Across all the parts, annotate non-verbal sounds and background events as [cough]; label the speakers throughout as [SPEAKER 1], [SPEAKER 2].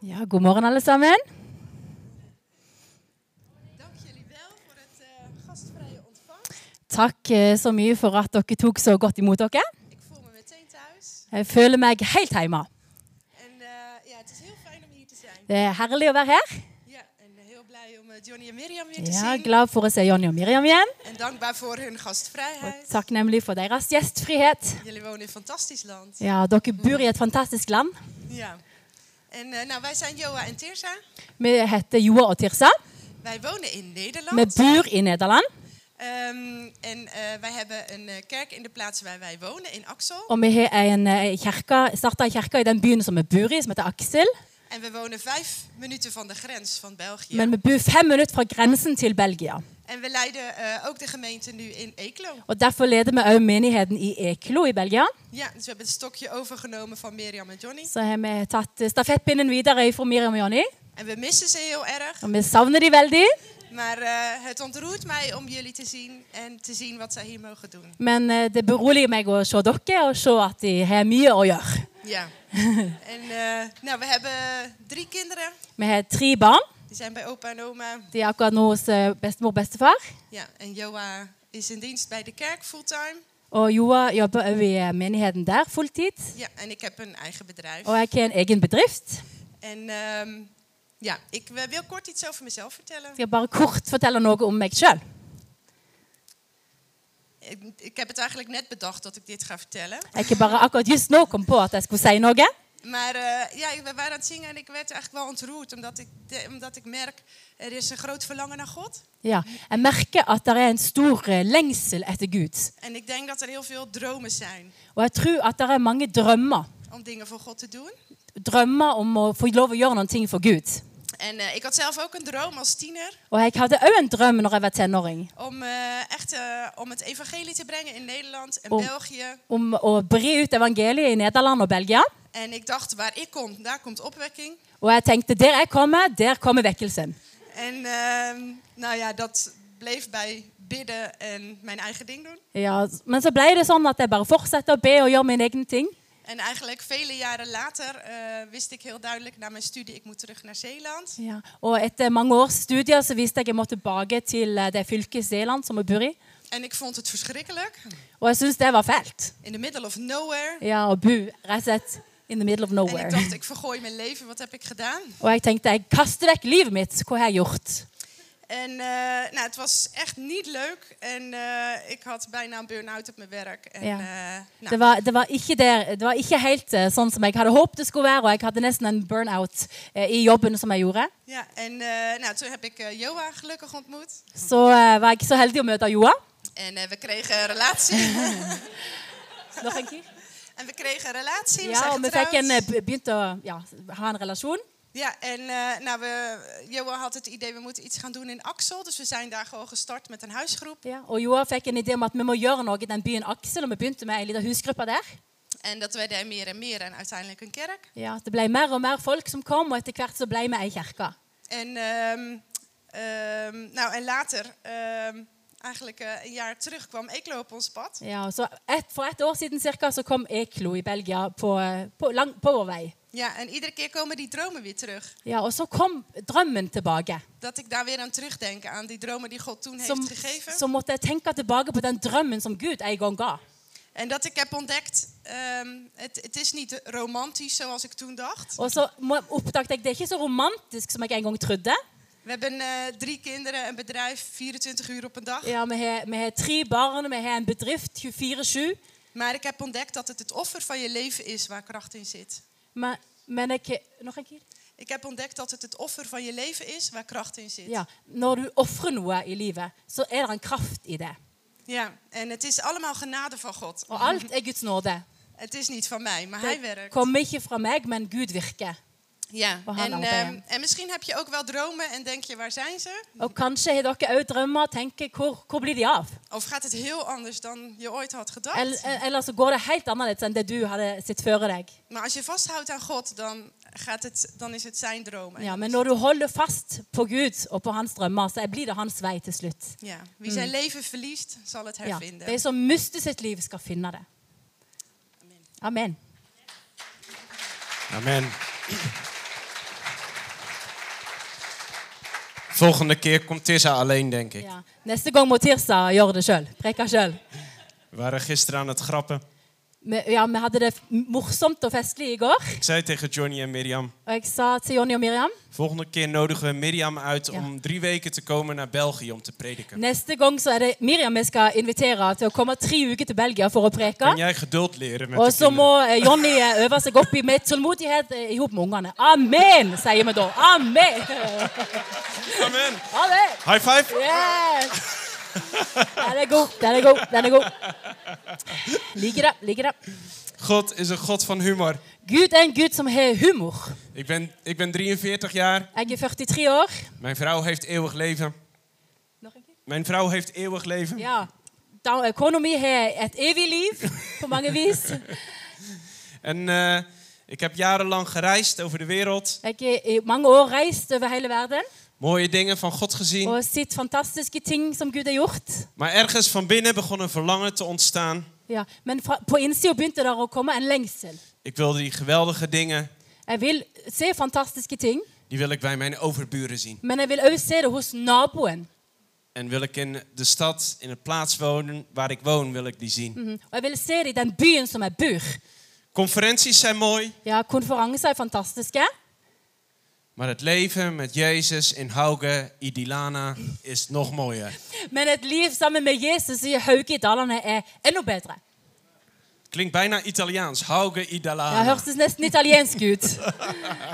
[SPEAKER 1] Ja, god morgen, alle sammen.
[SPEAKER 2] Dank jullie wel voor het eh, gastvrije ontvangst.
[SPEAKER 1] Takk eh, så mye for at dere tok så godt imot dere.
[SPEAKER 2] Ik voel me meteen thuis.
[SPEAKER 1] Jeg føler meg helt hjemme.
[SPEAKER 2] En eh, ja, het is heel fijn om hier te zijn.
[SPEAKER 1] Det er herlig å være her.
[SPEAKER 2] Ja, en heel blij om eh, Johnny en Mirjam weer te
[SPEAKER 1] Ja,
[SPEAKER 2] zien.
[SPEAKER 1] glad for å se Jonny og Miriam igjen.
[SPEAKER 2] En dankbaar voor hun gastvrijheid.
[SPEAKER 1] Og takknemlig for deres gjestfrihet.
[SPEAKER 2] Jullie wonen in een fantastisch land.
[SPEAKER 1] Ja, dere bor i et fantastisk land.
[SPEAKER 2] Ja. En eh, nou, wij zijn Joa en Tirza.
[SPEAKER 1] Vi heter Joa og Tirsa.
[SPEAKER 2] Wij wonen in
[SPEAKER 1] Vi
[SPEAKER 2] Nederland.
[SPEAKER 1] bor i Nederland.
[SPEAKER 2] Ehm, en eh, wij hebben een eh, kerk in de plaats waar wij wonen, in Axel.
[SPEAKER 1] Og vi har en eh, kirke, starta en kirke i den byen som vi bor i, som heter Aksel.
[SPEAKER 2] En we wonen vijf minuten van de grens van België.
[SPEAKER 1] Men vi bor fem minutter fra grensen til Belgia.
[SPEAKER 2] En we leiden eh, ook de gemeente nu in Eeklo.
[SPEAKER 1] Og Derfor leder vi òg menigheten i E Eklo i Belgia.
[SPEAKER 2] Ja, dus we hebben het stokje overgenomen van Mirjam en Johnny.
[SPEAKER 1] Så har vi tatt eh, stafettpinnen videre fra Miriam og Jonny.
[SPEAKER 2] En we missen ze heel erg.
[SPEAKER 1] Og vi savner de veldig,
[SPEAKER 2] Maar eh, het ontroert mij om jullie te zien en te zien wat zij hier mogen doen.
[SPEAKER 1] men eh, det beroliger meg å se dere og se at de har mye å gjøre.
[SPEAKER 2] Ja. [laughs] en eh, nou, we hebben drie kinderen.
[SPEAKER 1] Vi har tre barn.
[SPEAKER 2] Die zijn bij opa en oma.
[SPEAKER 1] De er akkurat nå hos eh, bestemor og bestefar.
[SPEAKER 2] Ja, en Joa is in dienst bij de kerk fulltime.
[SPEAKER 1] Og Joa jobber òg i eh, menigheten der fulltid.
[SPEAKER 2] Ja, en ik heb een eigen bedrijf.
[SPEAKER 1] Og jeg har en egen bedrift.
[SPEAKER 2] En ehm, ja, ik eh, wil kort iets over mezelf vertellen.
[SPEAKER 1] Jeg skal bare kort fortelle noe om meg sjøl.
[SPEAKER 2] Ik, ik heb het eigenlijk net bedacht dat ik dit ga vertellen.
[SPEAKER 1] Jeg har bare akkurat just nå kom på at jeg skulle si noe.
[SPEAKER 2] Maar eh, ja, we waren aan het zingen en ik werd eigenlijk wel ontroerd. Omdat ik, de- omdat ik merk, er is een groot verlangen naar God.
[SPEAKER 1] Ja, Jeg merker at det er en stor eh, lengsel etter Gud.
[SPEAKER 2] En ik denk dat er heel veel dromen zijn
[SPEAKER 1] Og jeg tror at det er mange drømmer.
[SPEAKER 2] om dingen voor God te doen.
[SPEAKER 1] Drømmer om å få lov å gjøre noen ting for Gud.
[SPEAKER 2] En eh, ik had zelf ook een droom als tiener
[SPEAKER 1] Og jeg hadde òg en drøm når jeg var tenåring.
[SPEAKER 2] om eh, echt eh, om het evangelie te brengen in Nederland en
[SPEAKER 1] Om-
[SPEAKER 2] België.
[SPEAKER 1] om å bre ut evangeliet i Nederland og Belgia.
[SPEAKER 2] En ik dacht, waar ik kom, daar komt opwekking.
[SPEAKER 1] Og jeg tenkte der jeg kommer, der kommer vekkelsen.
[SPEAKER 2] En ehm, nou ja, dat bleef bij bidden en mijn eigen ding doen.
[SPEAKER 1] Ja, men så ble det sånn at jeg bare fortsatte å be og gjøre mine egne ting.
[SPEAKER 2] En eigenlijk vele jaren later eh, wist ik heel duidelijk na mijn studie, ik moet terug naar Zeeland.
[SPEAKER 1] Ja. Og etter mange års studier så visste jeg jeg måtte tilbake til eh, det fylket Zeeland som jeg bor i.
[SPEAKER 2] En ik vond het verschrikkelijk.
[SPEAKER 1] Og jeg syntes det var fælt.
[SPEAKER 2] In the middle of nowhere.
[SPEAKER 1] Ja, å bo rett og slett in the middle of
[SPEAKER 2] En
[SPEAKER 1] nowhere.
[SPEAKER 2] ik dacht, ik vergooi mijn leven, wat heb ik gedaan?
[SPEAKER 1] Og jeg tenkte jeg kaster vekk livet mitt. Hva har jeg gjort?
[SPEAKER 2] En eh, nou, het was echt niet leuk. En eh, ik had bijna een burn-out op mijn werk. En,
[SPEAKER 1] Ja.
[SPEAKER 2] eh, nou,
[SPEAKER 1] Det var, det, var ikke der, det var ikke helt eh, sånn som jeg hadde håpet det skulle være, og jeg hadde nesten en burnout eh, i jobben som jeg gjorde.
[SPEAKER 2] ja, en eh, nou, toen heb ik eh, Joa gelukkig ontmoet.
[SPEAKER 1] Så eh, var jeg ikke så heldig å møte Joa.
[SPEAKER 2] En eh, we kregen een
[SPEAKER 1] [laughs]
[SPEAKER 2] relatie.
[SPEAKER 1] Nog en keer.
[SPEAKER 2] en we kregen een relatie. we
[SPEAKER 1] Ja,
[SPEAKER 2] zijn
[SPEAKER 1] og vi
[SPEAKER 2] getrouwd.
[SPEAKER 1] fikk en, eh, be- begynte å ja, ha en relasjon.
[SPEAKER 2] Ja, en eh, nou, we, Joa had het idee, we moeten iets gaan doen in Axel. Dus we zijn daar gewoon gestart met een huisgroep.
[SPEAKER 1] Ja, og Joa fikk en idé om at vi må gjøre noe i den byen Aksel, og vi begynte med en liten husgruppe der.
[SPEAKER 2] En dat werden er meer en meer en uiteindelijk een kerk.
[SPEAKER 1] Ja, det ble mer og mer folk som kom, og etter hvert så ble vi ei kirke.
[SPEAKER 2] En, ehm, ehm, nou, en later, ehm, eigenlijk eh, een jaar terug, kwam Eeklo op ons pad.
[SPEAKER 1] Ja, så et, for et år siden cirka, så kom Eklo i Belgia på, eh, på, lang, på vår vei.
[SPEAKER 2] Ja, en iedere keer komen die dromen weer terug.
[SPEAKER 1] Ja, og så kom drømmen tilbake.
[SPEAKER 2] Dat ik daar weer aan terugdenk, aan die dromen die God toen
[SPEAKER 1] Så,
[SPEAKER 2] heeft gegeven.
[SPEAKER 1] så måtte jeg tenke tilbake på den drømmen som Gud en gang ga.
[SPEAKER 2] En dat ik heb ontdekt, ehm, het, het is niet romantisch zoals ik toen dacht.
[SPEAKER 1] Og så må- oppdaget jeg det er ikke så romantisk som jeg en gang trodde.
[SPEAKER 2] We hebben eh, drie kinderen, een bedrijf, 24 uur op een dag.
[SPEAKER 1] Ja, vi har, vi har tre barn, vi har en bedrift 24-7.
[SPEAKER 2] Maar ik heb ontdekt dat het het offer van je leven is waar kracht in zit.
[SPEAKER 1] Men, men jeg Nok en keer?
[SPEAKER 2] Ik heb ontdekt dat het het offer van je leven is waar kracht in zit.
[SPEAKER 1] Ja. Når du ofrer noe i livet, så er det en kraft i det.
[SPEAKER 2] Ja, en het is allemaal genade van God.
[SPEAKER 1] Og alt er Guds nåde.
[SPEAKER 2] Het is niet van mij, maar hij
[SPEAKER 1] Det
[SPEAKER 2] werkt.
[SPEAKER 1] kommer ikke fra meg, men Gud virker.
[SPEAKER 2] Ja.
[SPEAKER 1] We gaan
[SPEAKER 2] En,
[SPEAKER 1] allebei
[SPEAKER 2] ehm,
[SPEAKER 1] aan.
[SPEAKER 2] en misschien heb je ook wel dromen en denk je, waar zijn ze?
[SPEAKER 1] Og kanskje har dere òg drømmer og tenker hvor, hvor blir de av?
[SPEAKER 2] Of gaat het heel anders dan je ooit had gedacht?
[SPEAKER 1] Eller, eller så går det helt annerledes enn det du hadde sett føre deg.
[SPEAKER 2] Maar als je vasthoudt aan God, dan, gaat het, dan is het zijn droom.
[SPEAKER 1] Ja, Men når du holder fast på Gud og på hans drømmer, så blir det hans vei til slutt.
[SPEAKER 2] Ja, Wie zijn leven verliest, zal het
[SPEAKER 1] Hmm. Ja,
[SPEAKER 2] hervinden.
[SPEAKER 1] de som mister sitt liv, skal finne det. Amen.
[SPEAKER 3] Amen. Volgende keer komt Tissa alleen, denk ik.
[SPEAKER 1] Ja. Neste gang må Tirsa gjøre det sjøl. Preke sjøl.
[SPEAKER 3] We waren gisteren aan het grappen.
[SPEAKER 1] Vi, ja, vi hadde det f- morsomt og festlig i går.
[SPEAKER 3] Ik zei tegen Johnny en Mirjam...
[SPEAKER 1] Og jeg sa til Jonny og Miriam
[SPEAKER 3] Volgende keer nodigen we Mirjam uit om drie weken te komen naar België om te prediken.
[SPEAKER 1] neste gang så er det Miriam vi skal invitere til å komme tre uker til Belgia for å preke.
[SPEAKER 3] Kan jij geduld leren met
[SPEAKER 1] Og
[SPEAKER 3] de
[SPEAKER 1] så må
[SPEAKER 3] kinderen?
[SPEAKER 1] eh, Jonny eh, øve seg opp i med tålmodighet i hop med ungene. Amen, sier vi da. Amen.
[SPEAKER 3] Amen.
[SPEAKER 1] Amen.
[SPEAKER 3] High five.
[SPEAKER 1] Yes. Den er god, den er god, den er god. Liker det, liker det.
[SPEAKER 3] God is een God van humor.
[SPEAKER 1] Gud er en gud som har humor.
[SPEAKER 3] Ik ben, ik ben 43 jaar.
[SPEAKER 1] Jeg er 43 år.
[SPEAKER 3] Mijn vrouw heeft eeuwig leven.
[SPEAKER 1] Nog en keer?
[SPEAKER 3] Mijn vrouw heeft eeuwig leven.
[SPEAKER 1] Ja. Da, Kona mi har et evig liv på mange vis.
[SPEAKER 3] En eh, ik heb jarenlang gereisd over de wereld.
[SPEAKER 1] Jeg har i mange år reist over hele verden
[SPEAKER 3] Mooie dingen van God gezien.
[SPEAKER 1] og sett fantastiske ting som Gud har gjort.
[SPEAKER 3] Maar ergens van binnen begon een verlangen te ontstaan.
[SPEAKER 1] Ja. Men fra, på innsida begynte det å komme en lengsel.
[SPEAKER 3] Ik wilde die geweldige dingen,
[SPEAKER 1] Jeg vil se fantastiske ting,
[SPEAKER 3] die wil ik bij mijn overburen zien.
[SPEAKER 1] men jeg vil òg se det hos naboen.
[SPEAKER 3] En wil ik in de stad, in het plaats wonen waar ik woon, wil ik die zien.
[SPEAKER 1] Mhm. Og jeg vil se det i den byen som jeg bor.
[SPEAKER 3] Conferenties zijn mooi,
[SPEAKER 1] Ja, Konferanser er fantastiske,
[SPEAKER 3] maar het leven met Jezus in Hauge, Idilana, is nog mooier.
[SPEAKER 1] men et liv sammen med Jesus i Hauge i Dalane er enda bedre.
[SPEAKER 3] Klinkt bijna Italiaans. Hauge,
[SPEAKER 1] Det
[SPEAKER 3] Idilana.
[SPEAKER 1] hørtes nesten italiensk ut.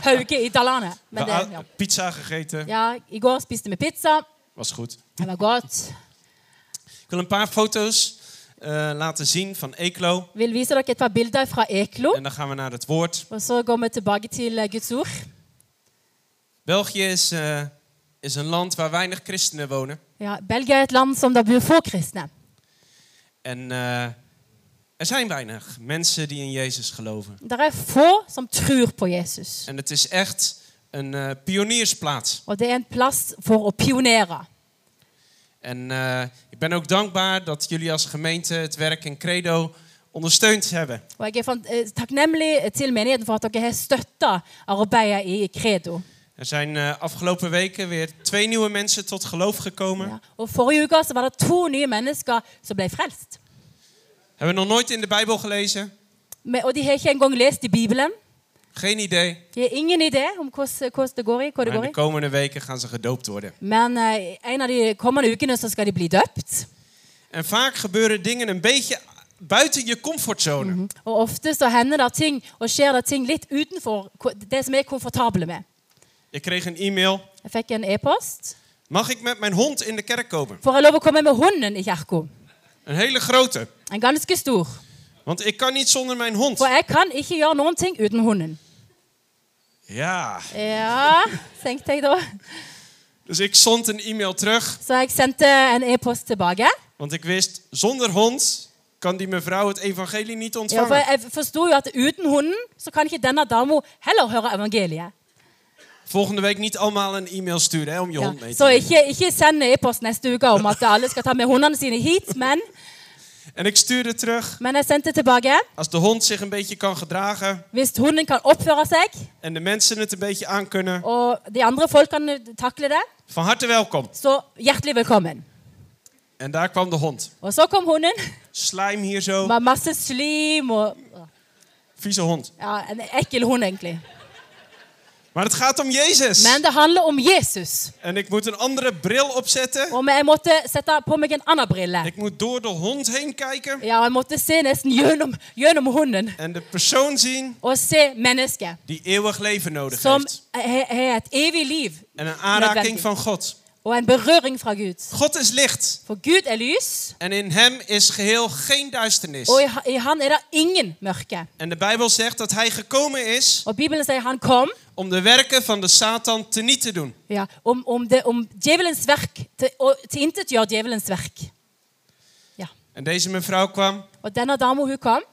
[SPEAKER 1] Hauge i Dalane.
[SPEAKER 3] We
[SPEAKER 1] Men det, ja.
[SPEAKER 3] hadden pizza gegeten.
[SPEAKER 1] Ja, I går spiste vi pizza.
[SPEAKER 3] Was goed.
[SPEAKER 1] Det var godt.
[SPEAKER 3] Ik wil een paar foto's eh, laten zien van Eklo.
[SPEAKER 1] Vil vise dere et par bilder fra Eklo.
[SPEAKER 3] En dan gaan we naar het woord.
[SPEAKER 1] Og så går vi tilbake til eh, Guds ord.
[SPEAKER 3] België is, eh, is een land waar weinig christenen wonen.
[SPEAKER 1] Ja, Belgia er et land som det bor få kristne.
[SPEAKER 3] En eh, er zijn weinig mensen die in Jezus geloven.
[SPEAKER 1] Det er få som tror på Jesus.
[SPEAKER 3] En het is echt een eh, pioniersplaats.
[SPEAKER 1] Og det er en plass for å pionere.
[SPEAKER 3] En eh, ik ben ook dankbaar dat jullie als gemeente het werk in Credo ondersteund hebben.
[SPEAKER 1] Og jeg er fan- eh, takknemlig til menigheten for at dere har støtta arbeidet i Credo.
[SPEAKER 3] Er zijn eh, afgelopen weken weer twee nieuwe mensen tot geloof gekomen.
[SPEAKER 1] Ja. Og Forrige uke så var det to nye mennesker som ble frelst.
[SPEAKER 3] Hebben nog nooit in de Bijbel gelezen.
[SPEAKER 1] Men- Og de har ikke engang lest i Bibelen.
[SPEAKER 3] Geen idee.
[SPEAKER 1] De har ingen idé om hvordan hvordan det går i. Hva det
[SPEAKER 3] Maar in
[SPEAKER 1] går
[SPEAKER 3] de
[SPEAKER 1] i.
[SPEAKER 3] komende weken gaan ze gedoopt worden.
[SPEAKER 1] Men eh, en av de kommende ukene så skal de bli døpt.
[SPEAKER 3] En vaak gebeuren dingen een beetje buiten je comfortzone.
[SPEAKER 1] Og ofte så hender det ting og skjer det ting litt utenfor ko- det som vi er komfortable med.
[SPEAKER 3] Ik kreeg een e-mail.
[SPEAKER 1] Jeg fikk en e-post.
[SPEAKER 3] Mag ik met mijn hond in de kerk komen?
[SPEAKER 1] Får jeg lov å komme med hunden i kirka?
[SPEAKER 3] Een hele grote.
[SPEAKER 1] En ganske stor.
[SPEAKER 3] Want ik kan niet zonder mijn hond.
[SPEAKER 1] For jeg kan ikke gjøre noen ting uten hunden.
[SPEAKER 3] Ja.
[SPEAKER 1] Ja, tenkte jeg da.
[SPEAKER 3] Dus ik zond een e-mail terug.
[SPEAKER 1] Så jeg sendte en e-post tilbake.
[SPEAKER 3] Want ik wist, zonder hond kan die mevrouw het evangelie niet
[SPEAKER 1] Ja, for
[SPEAKER 3] ontvangen.
[SPEAKER 1] jeg forsto jo at uten hunden så kan ikke denne dama heller høre evangeliet.
[SPEAKER 3] Volgende week niet allemaal een e-mail sturen hè, om je
[SPEAKER 1] Ja.
[SPEAKER 3] hond mee te
[SPEAKER 1] Så
[SPEAKER 3] nemen.
[SPEAKER 1] ikke, ikke send e-post neste uke om at alle skal ta med hundene sine hit, men,
[SPEAKER 3] En ik stuurde terug.
[SPEAKER 1] men jeg sendte tilbake.
[SPEAKER 3] Als de hond zich een beetje kan gedragen
[SPEAKER 1] Hvis hunden kan oppføre seg,
[SPEAKER 3] en de mensen het een beetje aankunnen,
[SPEAKER 1] og de andre folkene takle det,
[SPEAKER 3] van harte welkom.
[SPEAKER 1] så hjertelig velkommen.
[SPEAKER 3] En daar kwam de hond.
[SPEAKER 1] Og så kom hunden
[SPEAKER 3] Slijm hier zo.
[SPEAKER 1] med masse slim og
[SPEAKER 3] Vieze hond.
[SPEAKER 1] ja, En ekkel hund, egentlig.
[SPEAKER 3] Maar het gaat om Jezus.
[SPEAKER 1] Men det handler om Jesus.
[SPEAKER 3] En ik moet een andere bril opzetten.
[SPEAKER 1] Og jeg måtte sette på meg en annen brille.
[SPEAKER 3] Ik moet door de hond heen kijken
[SPEAKER 1] Ja, jeg måtte se nesten gjennom, gjennom hunden
[SPEAKER 3] en de persoon zien
[SPEAKER 1] og se mennesket
[SPEAKER 3] die eeuwig leven nodig
[SPEAKER 1] som
[SPEAKER 3] heeft.
[SPEAKER 1] har et evig liv
[SPEAKER 3] En een aanraking
[SPEAKER 1] Nødvendig.
[SPEAKER 3] van God.
[SPEAKER 1] og en berøring fra Gud.
[SPEAKER 3] God is licht
[SPEAKER 1] For Gud er lys,
[SPEAKER 3] en in hem is geheel geen duisternis.
[SPEAKER 1] og i ha- i Han er det ingen mørke.
[SPEAKER 3] En de Bijbel zegt dat hij gekomen is
[SPEAKER 1] Og Bibelen sier han kom
[SPEAKER 3] om de werken van de Satan te niet te doen.
[SPEAKER 1] ja, om, om, det, om djevelens verk til, å tilintetgjøre djevelens verk. Ja.
[SPEAKER 3] En deze mevrouw kwam
[SPEAKER 1] Og denne dama hun kom,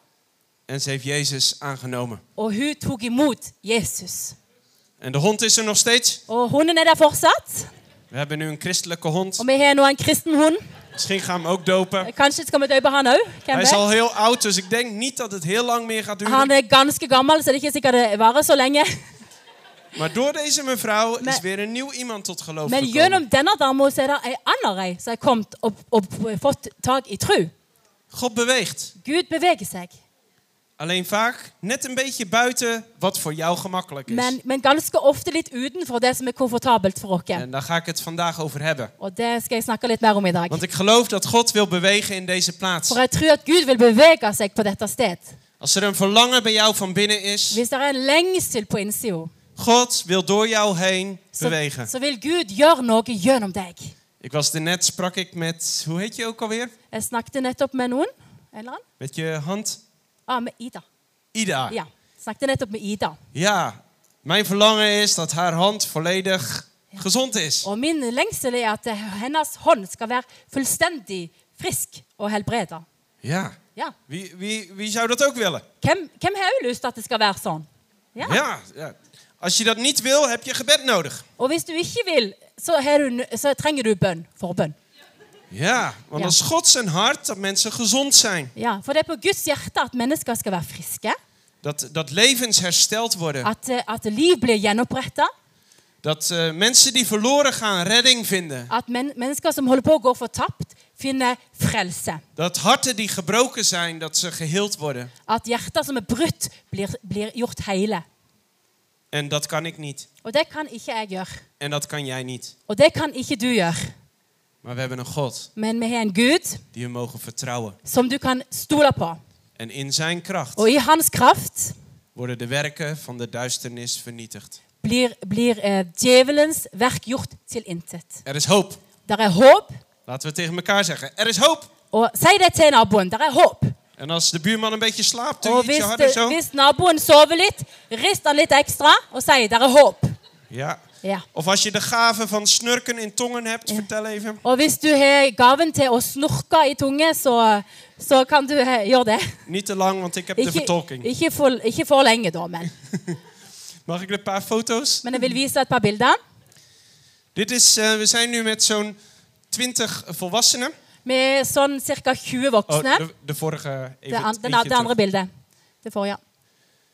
[SPEAKER 3] en ze heeft Jezus aangenomen.
[SPEAKER 1] og hun tok imot Jesus.
[SPEAKER 3] En de hond is er nog steeds.
[SPEAKER 1] Og hunden er der fortsatt.
[SPEAKER 3] We hebben nu een christelijke hond.
[SPEAKER 1] Og vi har nå en kristen hund.
[SPEAKER 3] Misschien gaan we hem ook dopen.
[SPEAKER 1] Kanskje skal vi døpe han òg?
[SPEAKER 3] Hij is al heel oud, dus ik denk niet dat het heel lang meer gaat duren.
[SPEAKER 1] Han er ganske gammel, så det er ikke sikkert det varer så lenge.
[SPEAKER 3] Maar door deze mevrouw is
[SPEAKER 1] Maar-
[SPEAKER 3] weer een nieuw iemand tot geloof
[SPEAKER 1] Men
[SPEAKER 3] gekomen.
[SPEAKER 1] gjennom denne dama så er det ei anna ei som er kommet og, og fått tak i tru.
[SPEAKER 3] God beweegt.
[SPEAKER 1] Gud beveger seg,
[SPEAKER 3] Alleen vaak net een beetje buiten wat voor jou gemakkelijk is.
[SPEAKER 1] men, men ganske ofte litt utenfor det som er komfortabelt for oss.
[SPEAKER 3] En daar ga ik het vandaag over hebben.
[SPEAKER 1] Og det skal jeg snakke litt mer om i dag.
[SPEAKER 3] Want ik geloof dat God wil bewegen in deze plaats.
[SPEAKER 1] For jeg tror at Gud vil bevege seg på dette sted.
[SPEAKER 3] Als er een verlangen bij jou van binnen is,
[SPEAKER 1] Hvis det er en lengsel på innsida,
[SPEAKER 3] God wil door jou heen
[SPEAKER 1] så,
[SPEAKER 3] bewegen.
[SPEAKER 1] så vil Gud gjøre noe gjennom deg.
[SPEAKER 3] Ik was daarnet, sprak ik met, hoe heet je ook alweer?
[SPEAKER 1] Jeg snakket nettopp med noen. En eller annen.
[SPEAKER 3] Met je hand?
[SPEAKER 1] Ah, med Ida.
[SPEAKER 3] Ida.
[SPEAKER 1] Ja. Snakket nettopp med Ida.
[SPEAKER 3] Ja, mijn verlangen is dat haar hand volledig gezond is.
[SPEAKER 1] Og min lengsel er at eh, hennes hånd skal være fullstendig frisk og helbreda.
[SPEAKER 3] Ja.
[SPEAKER 1] Ja.
[SPEAKER 3] Wie, wie, wie zou dat ook willen?
[SPEAKER 1] Hvem, hvem har også lyst til at det skal være sånn? Ja.
[SPEAKER 3] Ja, ja. Als je dat niet wil, heb je gebed nodig.
[SPEAKER 1] Og hvis du ikke vil, så, har du, n- så trenger du bønn. Forbønn.
[SPEAKER 3] Ja, want
[SPEAKER 1] Ja.
[SPEAKER 3] als God zijn hart dat mensen gezond zijn.
[SPEAKER 1] Ja, For det er på Guds hjerte at mennesker skal være friske.
[SPEAKER 3] Dat, dat levens hersteld worden.
[SPEAKER 1] At, eh, at liv blir gjenoppretta.
[SPEAKER 3] Dat eh, mensen die verloren gaan redding vinden.
[SPEAKER 1] At men, mennesker som holder på å gå fortapt, finner frelse.
[SPEAKER 3] Dat harten die gebroken zijn, dat ze geheeld worden.
[SPEAKER 1] At hjerter som er brutt, blir, blir gjort hele.
[SPEAKER 3] En dat kan ik niet.
[SPEAKER 1] Og det kan ikke jeg gjøre.
[SPEAKER 3] En dat kan jij niet.
[SPEAKER 1] Og det kan ikke du gjøre.
[SPEAKER 3] Maar we hebben een God
[SPEAKER 1] Men vi har en Gud
[SPEAKER 3] die we mogen vertrouwen.
[SPEAKER 1] som du kan stole på.
[SPEAKER 3] En in zijn kracht
[SPEAKER 1] Og i hans kraft
[SPEAKER 3] worden de werken van de duisternis vernietigd.
[SPEAKER 1] blir, blir eh, djevelens verk gjort til intet.
[SPEAKER 3] Er is hoop.
[SPEAKER 1] Der er håp,
[SPEAKER 3] Laten we het tegen elkaar zeggen. Er is hoop.
[SPEAKER 1] og si det til naboen. Der er håp.
[SPEAKER 3] En als de buurman een beetje slaapt, doe
[SPEAKER 1] Og
[SPEAKER 3] je ietsje
[SPEAKER 1] hvis,
[SPEAKER 3] harder
[SPEAKER 1] det,
[SPEAKER 3] zo.
[SPEAKER 1] hvis naboen sover litt, rist han litt ekstra og si der er håp.
[SPEAKER 3] Ja.
[SPEAKER 1] Ja.
[SPEAKER 3] Of als je de gave van snurken in tongen hebt, vertel even.
[SPEAKER 1] Og hvis du har gaven til å snorke i tunge, så, så kan du eh, gjøre det.
[SPEAKER 3] Niet te lang, want ik heb de
[SPEAKER 1] Ikke,
[SPEAKER 3] vertolking.
[SPEAKER 1] ikke, for, ikke for lenge, da, men.
[SPEAKER 3] Mag ik een paar foto's?
[SPEAKER 1] Men jeg vil vise et par bilder.
[SPEAKER 3] Dit is, eh, we zijn nu met zo'n 20 volwassenen.
[SPEAKER 1] Med sånn ca. 20
[SPEAKER 3] Oh,
[SPEAKER 1] voksne.
[SPEAKER 3] de, de vorige. Even,
[SPEAKER 1] Det, an, den,
[SPEAKER 3] eentje
[SPEAKER 1] det andre
[SPEAKER 3] terug.
[SPEAKER 1] bildet. Det forrige.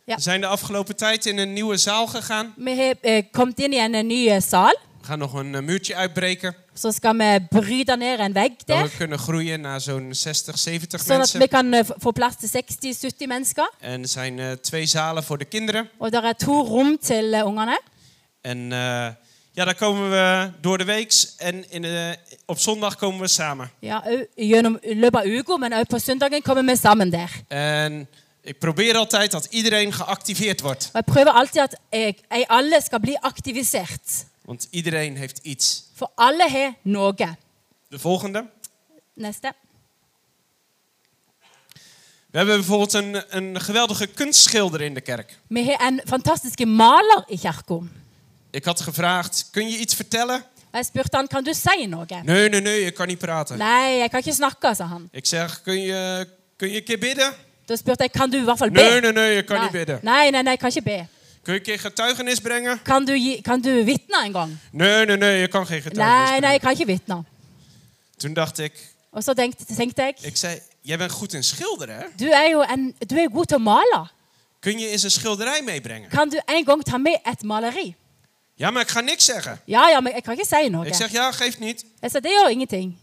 [SPEAKER 1] ja.
[SPEAKER 3] We zijn de afgelopen tijd in een nieuwe zaal gegaan.
[SPEAKER 1] Vi har eh, kommet inn i en eh, ny eh, sal.
[SPEAKER 3] We gaan nog een eh, muurtje uitbreken.
[SPEAKER 1] Så skal vi bryte ned en vegg
[SPEAKER 3] Dat
[SPEAKER 1] der,
[SPEAKER 3] we kunnen groeien naar zo'n 60, 70
[SPEAKER 1] sånn at vi
[SPEAKER 3] mensen.
[SPEAKER 1] kan eh, f- få plass til 60-70 mennesker.
[SPEAKER 3] En er zijn eh, twee zalen voor de kinderen.
[SPEAKER 1] Og det er to rom til eh, ungene.
[SPEAKER 3] En eh, ja, daar komen we door de week. En in de, op zondag komen we samen.
[SPEAKER 1] Ja, au- gjennom i løpet av uka, men òg på søndagen kommer vi sammen der.
[SPEAKER 3] En ik probeer altijd dat iedereen geactiveerd wordt.
[SPEAKER 1] Og Jeg prøver alltid at jeg, jeg alle skal bli aktivisert.
[SPEAKER 3] Want iedereen heeft iets.
[SPEAKER 1] For alle har noe.
[SPEAKER 3] De volgende.
[SPEAKER 1] Neste.
[SPEAKER 3] We hebben bijvoorbeeld een, een geweldige kunstschilder in de kerk.
[SPEAKER 1] Vi har en fantastisk maler i kirka.
[SPEAKER 3] Ik had gevraagd, kun je iets vertellen?
[SPEAKER 1] Og Jeg spurte han, kan du si noe.
[SPEAKER 3] Nee, nee, nee, ik kan niet praten.
[SPEAKER 1] Nei, jeg kan ikke snakke, sa han.
[SPEAKER 3] Ik zeg, kun je, kun je een keer bidden?
[SPEAKER 1] Da spurte jeg, kan du i hvert fall be?
[SPEAKER 3] Nee, nee, nee, ik kan niet
[SPEAKER 1] nei,
[SPEAKER 3] bidden.
[SPEAKER 1] nei, nei, nei, jeg kan ikke be.
[SPEAKER 3] Kun je een keer getuigenis brengen?
[SPEAKER 1] Kan du, gi- kan du vitne en gang?
[SPEAKER 3] Nee, nee, nee, je kan geen getuigenis
[SPEAKER 1] Nei, nei,
[SPEAKER 3] brengen.
[SPEAKER 1] jeg kan ikke vitne.
[SPEAKER 3] Toen dacht ik,
[SPEAKER 1] Og så tenkte, tenkte jeg,
[SPEAKER 3] ik zei, jij bent goed in schilderen, hè?
[SPEAKER 1] du er jo en, du er god til å male.
[SPEAKER 3] Kun je eens een schilderij meebrengen?
[SPEAKER 1] Kan du en gang ta med et maleri?
[SPEAKER 3] Ja, maar ik ga niks zeggen.
[SPEAKER 1] Ja, ja, men jeg kan ikke si noe.
[SPEAKER 3] Ik zeg, ja, geeft niet.
[SPEAKER 1] Jeg sa, det gjør ingenting.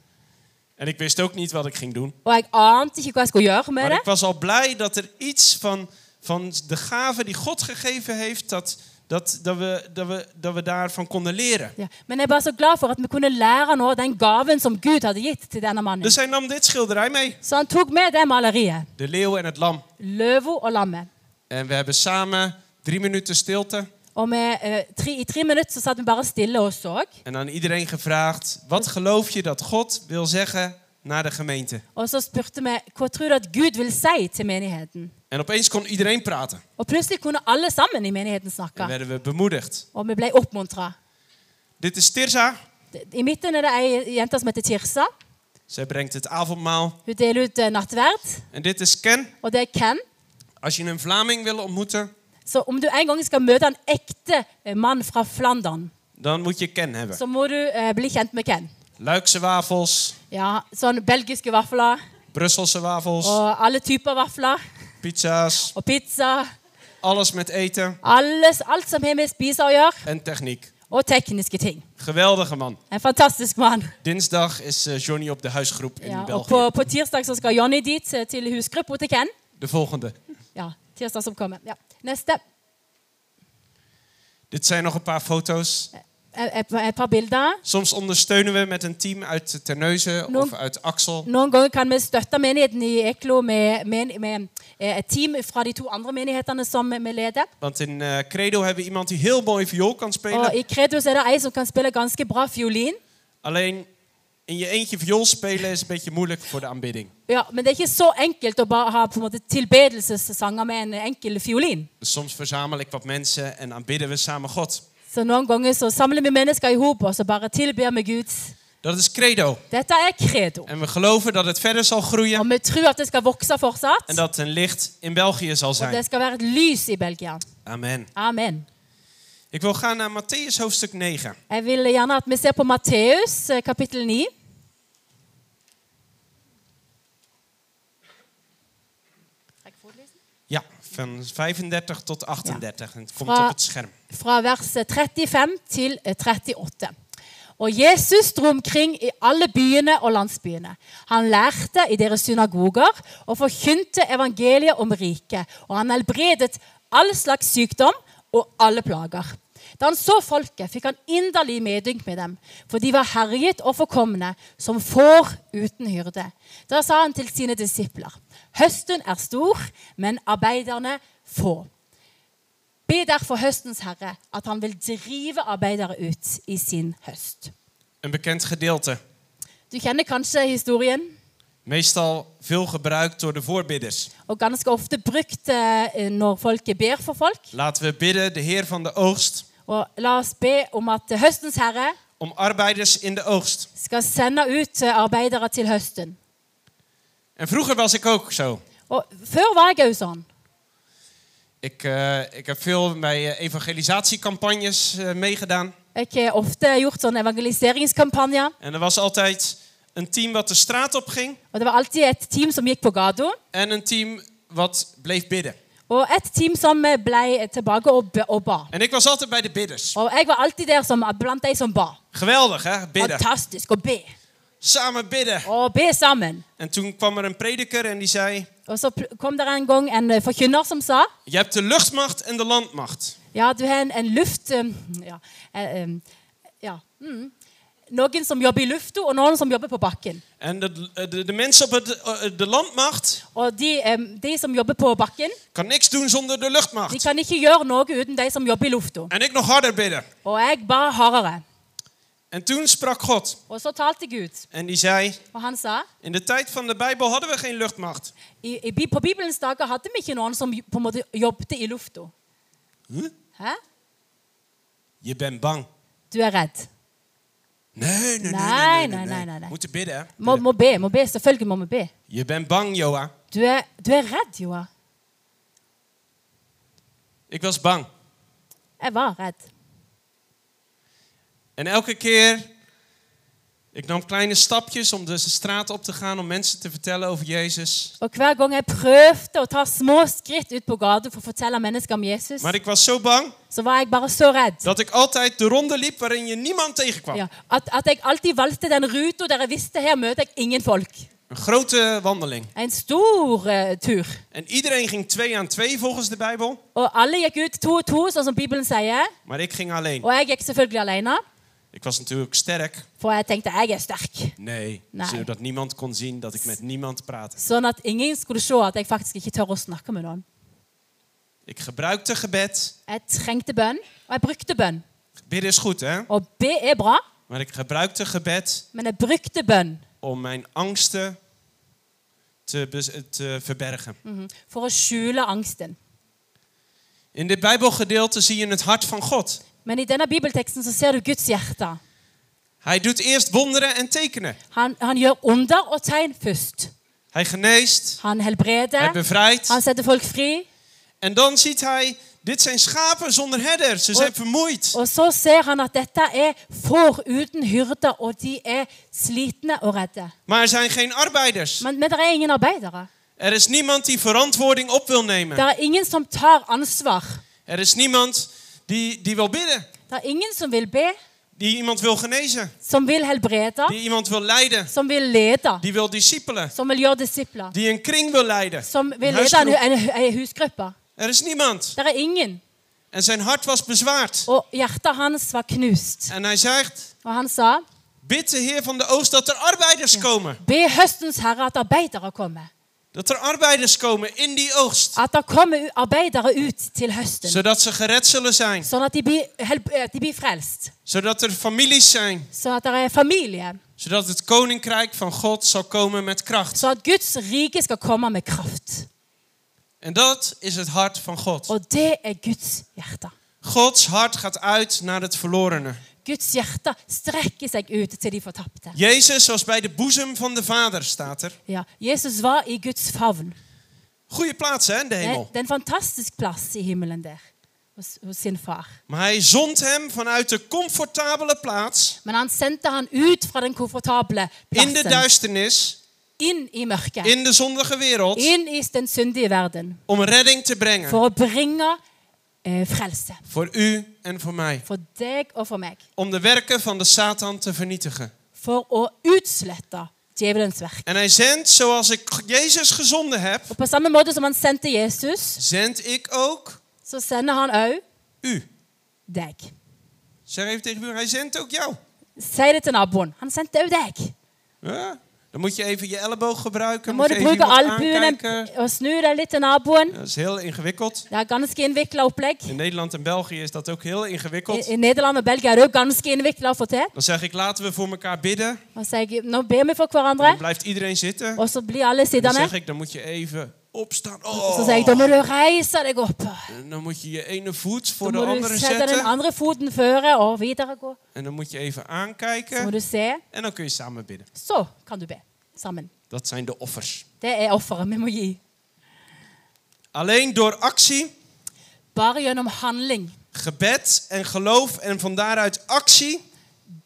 [SPEAKER 3] En ik wist ook niet wat ik ging doen.
[SPEAKER 1] Og jeg ante ikke hva jeg skulle gjøre med
[SPEAKER 3] Maar
[SPEAKER 1] det.
[SPEAKER 3] ik was al blij dat er iets van, van de gave die God gegeven heeft, dat, dat, dat, we, dat, we, dat we daarvan konden leren.
[SPEAKER 1] Ja. Men jeg er bare så glad for at vi kunne lære nå den gaven som Gud hadde gitt til denne mannen.
[SPEAKER 3] Dus hij nam dit schilderij mee.
[SPEAKER 1] Så han tok med det maleriet.
[SPEAKER 3] De leeuw en het lam.
[SPEAKER 1] Løva og lammet.
[SPEAKER 3] En we hebben samen drie minuten stilte.
[SPEAKER 1] Og med, eh, tre, i tre minutter så satt vi bare stille og så.
[SPEAKER 3] En aan iedereen gevraagd, wat geloof je dat God wil zeggen naar de gemeente?
[SPEAKER 1] Og så spurte vi hva tror du at Gud vil si til menigheten.
[SPEAKER 3] En opeens kon iedereen praten.
[SPEAKER 1] Og plutselig kunne alle sammen i menigheten
[SPEAKER 3] En
[SPEAKER 1] snakke.
[SPEAKER 3] werden we bemoedigd.
[SPEAKER 1] Og vi ble oppmuntra.
[SPEAKER 3] Dit is Tirza.
[SPEAKER 1] I midten er det ei jente som heter Kirsa.
[SPEAKER 3] Zij brengt het avondmaal.
[SPEAKER 1] Hun deler ut eh, nattverd.
[SPEAKER 3] En dit is Ken.
[SPEAKER 1] Og det er Ken.
[SPEAKER 3] Als je een Vlaming wil ontmoeten,
[SPEAKER 1] Så om du en gang skal møte en ekte eh, mann fra Flandern,
[SPEAKER 3] dan moet je Ken hebben.
[SPEAKER 1] så må du eh, bli kjent med Ken.
[SPEAKER 3] Luikse wafels,
[SPEAKER 1] Ja, Sånn belgiske vafler Oh.
[SPEAKER 3] Brusselse wafels,
[SPEAKER 1] og alle typer vafler.
[SPEAKER 3] pizza's,
[SPEAKER 1] Og pizza
[SPEAKER 3] Alles met eten
[SPEAKER 1] Alles, alt som har med spiser å gjøre,
[SPEAKER 3] en techniek.
[SPEAKER 1] og tekniske ting.
[SPEAKER 3] Geweldige man.
[SPEAKER 1] En fantastisk mann.
[SPEAKER 3] Dinsdag is eh, Johnny op de huisgroep in
[SPEAKER 1] Ja, og
[SPEAKER 3] België.
[SPEAKER 1] på, på tirsdag så skal Jonny dit eh, til husgruppa til Ken.
[SPEAKER 3] De volgende.
[SPEAKER 1] Ja, tirsdag som kommer. Ja. Neste.
[SPEAKER 3] Dit zijn nog een paar foto's.
[SPEAKER 1] Et, Eh, et, et par bilder.
[SPEAKER 3] Soms ondersteunen we met een team uit Terneuzen
[SPEAKER 1] Noem-
[SPEAKER 3] of uit Axel.
[SPEAKER 1] Noen ganger kan vi støtte menigheten i Eklo med, med, med eh, et team fra de to andre menighetene som vi leder.
[SPEAKER 3] Want in eh, Credo hebben we iemand die heel mooi viool kan spelen.
[SPEAKER 1] Og I Kredos er det ei som kan spille ganske bra fiolin.
[SPEAKER 3] Alleen in je eentje viool spelen is een beetje moeilijk voor de aanbidding.
[SPEAKER 1] Ja, Men det er ikke så enkelt å bare ha på en måte tilbedelsessanger med en enkel fiolin.
[SPEAKER 3] Dus soms verzamel ik wat mensen en aanbidden we samen God.
[SPEAKER 1] Så noen ganger så samler vi mennesker i hop og så bare tilber vi Gud.
[SPEAKER 3] Dat is Credo.
[SPEAKER 1] Dette er credo.
[SPEAKER 3] En we geloven dat het verder zal groeien
[SPEAKER 1] Og vi tror at det skal vokse fortsatt.
[SPEAKER 3] en dat een licht in België zal
[SPEAKER 1] Og det
[SPEAKER 3] zijn.
[SPEAKER 1] skal være et lys i Belgia.
[SPEAKER 3] Amen.
[SPEAKER 1] Amen.
[SPEAKER 3] Ik wil gaan naar Matthäus hoofdstuk 9.
[SPEAKER 1] Jeg vil gjerne at vi ser på Matteus eh, kapittel 9.
[SPEAKER 3] Ja, van 35 tot 38. En het komt
[SPEAKER 1] Fra-
[SPEAKER 3] op het scherm.
[SPEAKER 1] fra vers 35 til 38. Og Jesus dro omkring i alle byene og landsbyene. Han lærte i deres synagoger og forkynte evangeliet om riket, og han helbredet all slags sykdom og alle plager. Da han så folket, fikk han inderlig medynk med dem, for de var herjet og forkomne, som får uten hyrde. Da sa han til sine disipler, høsten er stor, men arbeiderne få. Be derfor høstens herre at han vil drive arbeidere ut i sin høst.
[SPEAKER 3] Een bekend gedeelte.
[SPEAKER 1] Du kjenner kanskje historien,
[SPEAKER 3] Meestal veel gebruikt door de voorbidders.
[SPEAKER 1] og ganske ofte brukt eh, når folket ber for folk.
[SPEAKER 3] Laten we bidden, de Heer van de oogst,
[SPEAKER 1] Og la oss be om at høstens herre
[SPEAKER 3] om arbeiders in de oogst.
[SPEAKER 1] skal sende ut eh, arbeidere til høsten.
[SPEAKER 3] En vroeger was ik ook zo.
[SPEAKER 1] Og før var jeg òg sånn.
[SPEAKER 3] Ik, eh, ik heb veel bij eh, evangelisatiecampagnes eh, meegedaan.
[SPEAKER 1] Jeg har ofte gjort sånn evangeliseringskampanjer.
[SPEAKER 3] En er was altijd een team wat de straat op ging
[SPEAKER 1] Og det var alltid et team som gikk på gata,
[SPEAKER 3] en een team wat bleef bidden.
[SPEAKER 1] og et team som eh, ble tilbake og, be- og ba.
[SPEAKER 3] En ik was altijd bij de bidders.
[SPEAKER 1] Og jeg var alltid der som, blant de som ba.
[SPEAKER 3] Geweldig hè, bidden.
[SPEAKER 1] Fantastisk å be.
[SPEAKER 3] Samen bidden.
[SPEAKER 1] Å be sammen.
[SPEAKER 3] En toen kwam er een prediker en die zei...
[SPEAKER 1] Og så pl- kom der en gang en eh, forkynner som sa
[SPEAKER 3] Je hebt de luchtmacht en de landmacht.
[SPEAKER 1] Ja, du har en, en luft um, ja, eh, um, ja, mm. Noen som jobber i lufta, og noen som jobber på bakken.
[SPEAKER 3] En de, de, de mensen op het, eh, de landmacht
[SPEAKER 1] Og de, em, de som jobber på bakken,
[SPEAKER 3] kan niks doen zonder de
[SPEAKER 1] de
[SPEAKER 3] luchtmacht.
[SPEAKER 1] kan ikke gjøre noe uten de som jobber i lufta.
[SPEAKER 3] En ik nog harder bidden.
[SPEAKER 1] Og jeg ba hardere.
[SPEAKER 3] En toen sprak God
[SPEAKER 1] Og så talte Gud,
[SPEAKER 3] en die zei...
[SPEAKER 1] og han sa
[SPEAKER 3] In de tijd van de Bijbel hadden we geen luchtmacht.
[SPEAKER 1] i, i, Bi- På Bibelens dager hadde vi ikke noen som jo- på en måte jobbet i lufta.
[SPEAKER 3] Huh?
[SPEAKER 1] Hæ?
[SPEAKER 3] Je bent bang.
[SPEAKER 1] Du er redd.
[SPEAKER 3] Nee, nee, nee.
[SPEAKER 1] Nee, nee, nee, nee, nee.
[SPEAKER 3] Moeten bidden, hè?
[SPEAKER 1] Må, må be. må be, Selvfølgelig må vi be.
[SPEAKER 3] Je bent bang, Joa.
[SPEAKER 1] Du er, du er redd, Joa.
[SPEAKER 3] Ik was bang.
[SPEAKER 1] Jeg var redd.
[SPEAKER 3] En elke keer... Ik nam kleine stapjes om de straat op te gaan... om mensen te vertellen over Jezus.
[SPEAKER 1] Og hver gang jeg prøvde å ta små skritt ut på gata for å fortelle mennesker om Jesus,
[SPEAKER 3] Maar ik was zo bang
[SPEAKER 1] så var jeg bare så redd.
[SPEAKER 3] dat ik altijd de ronde liep... waarin je niemand tegenkwam.
[SPEAKER 1] Ja, at, at jeg alltid valgte den ruta der jeg visste her møter jeg ingen folk.
[SPEAKER 3] Een grote wandeling.
[SPEAKER 1] En stor eh, tur.
[SPEAKER 3] En iedereen ging twee aan twee volgens de Bijbel.
[SPEAKER 1] Og alle gikk ut to og to, sånn som Bibelen sier.
[SPEAKER 3] Maar ik ging alleen.
[SPEAKER 1] Og jeg gikk selvfølgelig alene,
[SPEAKER 3] Ik was natuurlijk sterk.
[SPEAKER 1] for jeg tenkte jeg er sterk.
[SPEAKER 3] Nee,
[SPEAKER 1] Nee.
[SPEAKER 3] zodat niemand kon zien dat ik met niemand praatte.
[SPEAKER 1] Sånn at ingen skulle se at jeg faktisk ikke tør å snakke med noen.
[SPEAKER 3] Ik gebruikte gebed.
[SPEAKER 1] Jeg trengte bønn, og jeg brukte bønn.
[SPEAKER 3] Bidden is goed, hè?
[SPEAKER 1] Og be er bra,
[SPEAKER 3] Maar ik gebruikte gebed
[SPEAKER 1] men jeg brukte bønn
[SPEAKER 3] om mijn angsten te, bes- te verbergen.
[SPEAKER 1] mhm, for å skjule angsten.
[SPEAKER 3] In dit Bijbelgedeelte zie je het hart van God.
[SPEAKER 1] Men i denne bibelteksten så ser du Guds hjerte.
[SPEAKER 3] Hij doet eerst wonderen en tekenen.
[SPEAKER 1] Han, han gjør onder og tegn først.
[SPEAKER 3] Hij geneest,
[SPEAKER 1] Han
[SPEAKER 3] hij
[SPEAKER 1] helbreder, han
[SPEAKER 3] bevrijdt.
[SPEAKER 1] setter folk fri.
[SPEAKER 3] En dan ziet hij, dit zijn schapen zonder herder. Ze zijn vermoeid.
[SPEAKER 1] Og så ser han at dette er får uten hyrder, og de er slitne og redde.
[SPEAKER 3] Maar er zijn geen arbeiders.
[SPEAKER 1] Men, men det er ingen arbeidere.
[SPEAKER 3] Er is niemand die verantwoording op wil
[SPEAKER 1] Det
[SPEAKER 3] nemen.
[SPEAKER 1] er ingen som tar ansvar.
[SPEAKER 3] Er is niemand die, die wil bidden.
[SPEAKER 1] Det er ingen som vil be,
[SPEAKER 3] Die iemand wil genezen.
[SPEAKER 1] som vil helbrede,
[SPEAKER 3] Die iemand wil leiden.
[SPEAKER 1] som vil lede,
[SPEAKER 3] Die wil discipelen.
[SPEAKER 1] som vil gjøre disipler,
[SPEAKER 3] Die een kring wil leiden.
[SPEAKER 1] som
[SPEAKER 3] Een
[SPEAKER 1] vil lede en,
[SPEAKER 3] huisgroep.
[SPEAKER 1] en, en husgruppe.
[SPEAKER 3] Er is niemand.
[SPEAKER 1] Det er ingen.
[SPEAKER 3] En zijn hart was bezwaard.
[SPEAKER 1] Og hjertet hans var knust.
[SPEAKER 3] En hij zegt,
[SPEAKER 1] Og han sa,
[SPEAKER 3] bid de Heer van de Oost dat er arbeiders komen.
[SPEAKER 1] be høstens herre at arbeidere kommer.
[SPEAKER 3] Dat er arbeiders komen in die oogst.
[SPEAKER 1] At det kommer u- arbeidere ut til høsten.
[SPEAKER 3] Zodat ze gered zullen zijn.
[SPEAKER 1] Sånn at de blir, helb- eh, de blir frelst.
[SPEAKER 3] Zodat er families zijn.
[SPEAKER 1] Sånn at det er familie.
[SPEAKER 3] Zodat het koninkrijk van God zal komen met kracht.
[SPEAKER 1] Sånn at Guds rike skal komme med kraft.
[SPEAKER 3] En dat is het hart van God.
[SPEAKER 1] Og det er Guds hjerte.
[SPEAKER 3] Gods hart gaat uit naar het verlorene.
[SPEAKER 1] Guds hjerte strekker seg ut til de fortapte.
[SPEAKER 3] Jezus was bij de boezem van de Vader, staat er.
[SPEAKER 1] Ja, Jesus var i Guds favn.
[SPEAKER 3] Goeie plaats, hè, in de
[SPEAKER 1] Det
[SPEAKER 3] hemel.
[SPEAKER 1] det er en fantastisk plass i himmelen der, hos, hos sin far.
[SPEAKER 3] Maar hij zond hem vanuit de comfortabele plaats
[SPEAKER 1] Men han sendte han ut fra den komfortable
[SPEAKER 3] in de
[SPEAKER 1] plassen,
[SPEAKER 3] duisternis,
[SPEAKER 1] inn i mørket,
[SPEAKER 3] in de zondige wereld,
[SPEAKER 1] inn i den syndige verden,
[SPEAKER 3] om redding te brengen.
[SPEAKER 1] for å bringe eh, frelse.
[SPEAKER 3] Voor u en voor mij.
[SPEAKER 1] For deg og for meg.
[SPEAKER 3] Om de werken van de Satan te vernietigen.
[SPEAKER 1] For å utslette djevelens verk.
[SPEAKER 3] En hij zendt, zoals ik Jezus gezonden heb,
[SPEAKER 1] Og På samme måte som han sendte Jesus,
[SPEAKER 3] zend ik ook
[SPEAKER 1] så sender han òg
[SPEAKER 3] u.
[SPEAKER 1] deg.
[SPEAKER 3] Zeg even tegen u, hij zendt ook jou.
[SPEAKER 1] Si det til naboen. Han sendte òg deg.
[SPEAKER 3] Ja, Dan moet je even je elleboog gebruiken.
[SPEAKER 1] Du må
[SPEAKER 3] Moet
[SPEAKER 1] du
[SPEAKER 3] je even
[SPEAKER 1] bruke
[SPEAKER 3] iemand
[SPEAKER 1] albuen
[SPEAKER 3] aankijken.
[SPEAKER 1] og snu deg litt til naboen.
[SPEAKER 3] Dat is heel ingewikkeld.
[SPEAKER 1] Det er ganske innvikla opplegg.
[SPEAKER 3] In Nederland en België is dat ook heel
[SPEAKER 1] I,
[SPEAKER 3] ingewikkeld.
[SPEAKER 1] I Nederland og Belgia er det òg ganske innvikla å få til.
[SPEAKER 3] Dan zeg ik, laten we voor elkaar bidden.
[SPEAKER 1] Og sier jeg, nå ber vi for
[SPEAKER 3] En
[SPEAKER 1] hverandre,
[SPEAKER 3] dan blijft iedereen zitten.
[SPEAKER 1] og så blir alle
[SPEAKER 3] En dan
[SPEAKER 1] sittende.
[SPEAKER 3] zeg ik, dan moet je even opstaan.
[SPEAKER 1] Og så sier jeg, da
[SPEAKER 3] Oh.
[SPEAKER 1] må du reise deg opp.
[SPEAKER 3] En dan moet je je ene voet
[SPEAKER 1] Da
[SPEAKER 3] voor de
[SPEAKER 1] må du
[SPEAKER 3] andere
[SPEAKER 1] sette den
[SPEAKER 3] zetten.
[SPEAKER 1] andre foten føre og videre gå.
[SPEAKER 3] En dan moet je even
[SPEAKER 1] Så må
[SPEAKER 3] aankijken.
[SPEAKER 1] du se.
[SPEAKER 3] En dan kun je samen bidden.
[SPEAKER 1] Så kan du be sammen.
[SPEAKER 3] Dat zijn de offers.
[SPEAKER 1] Det er offeret vi må gi.
[SPEAKER 3] Alleen door actie,
[SPEAKER 1] Bare gjennom handling,
[SPEAKER 3] gebed en geloof en van daaruit actie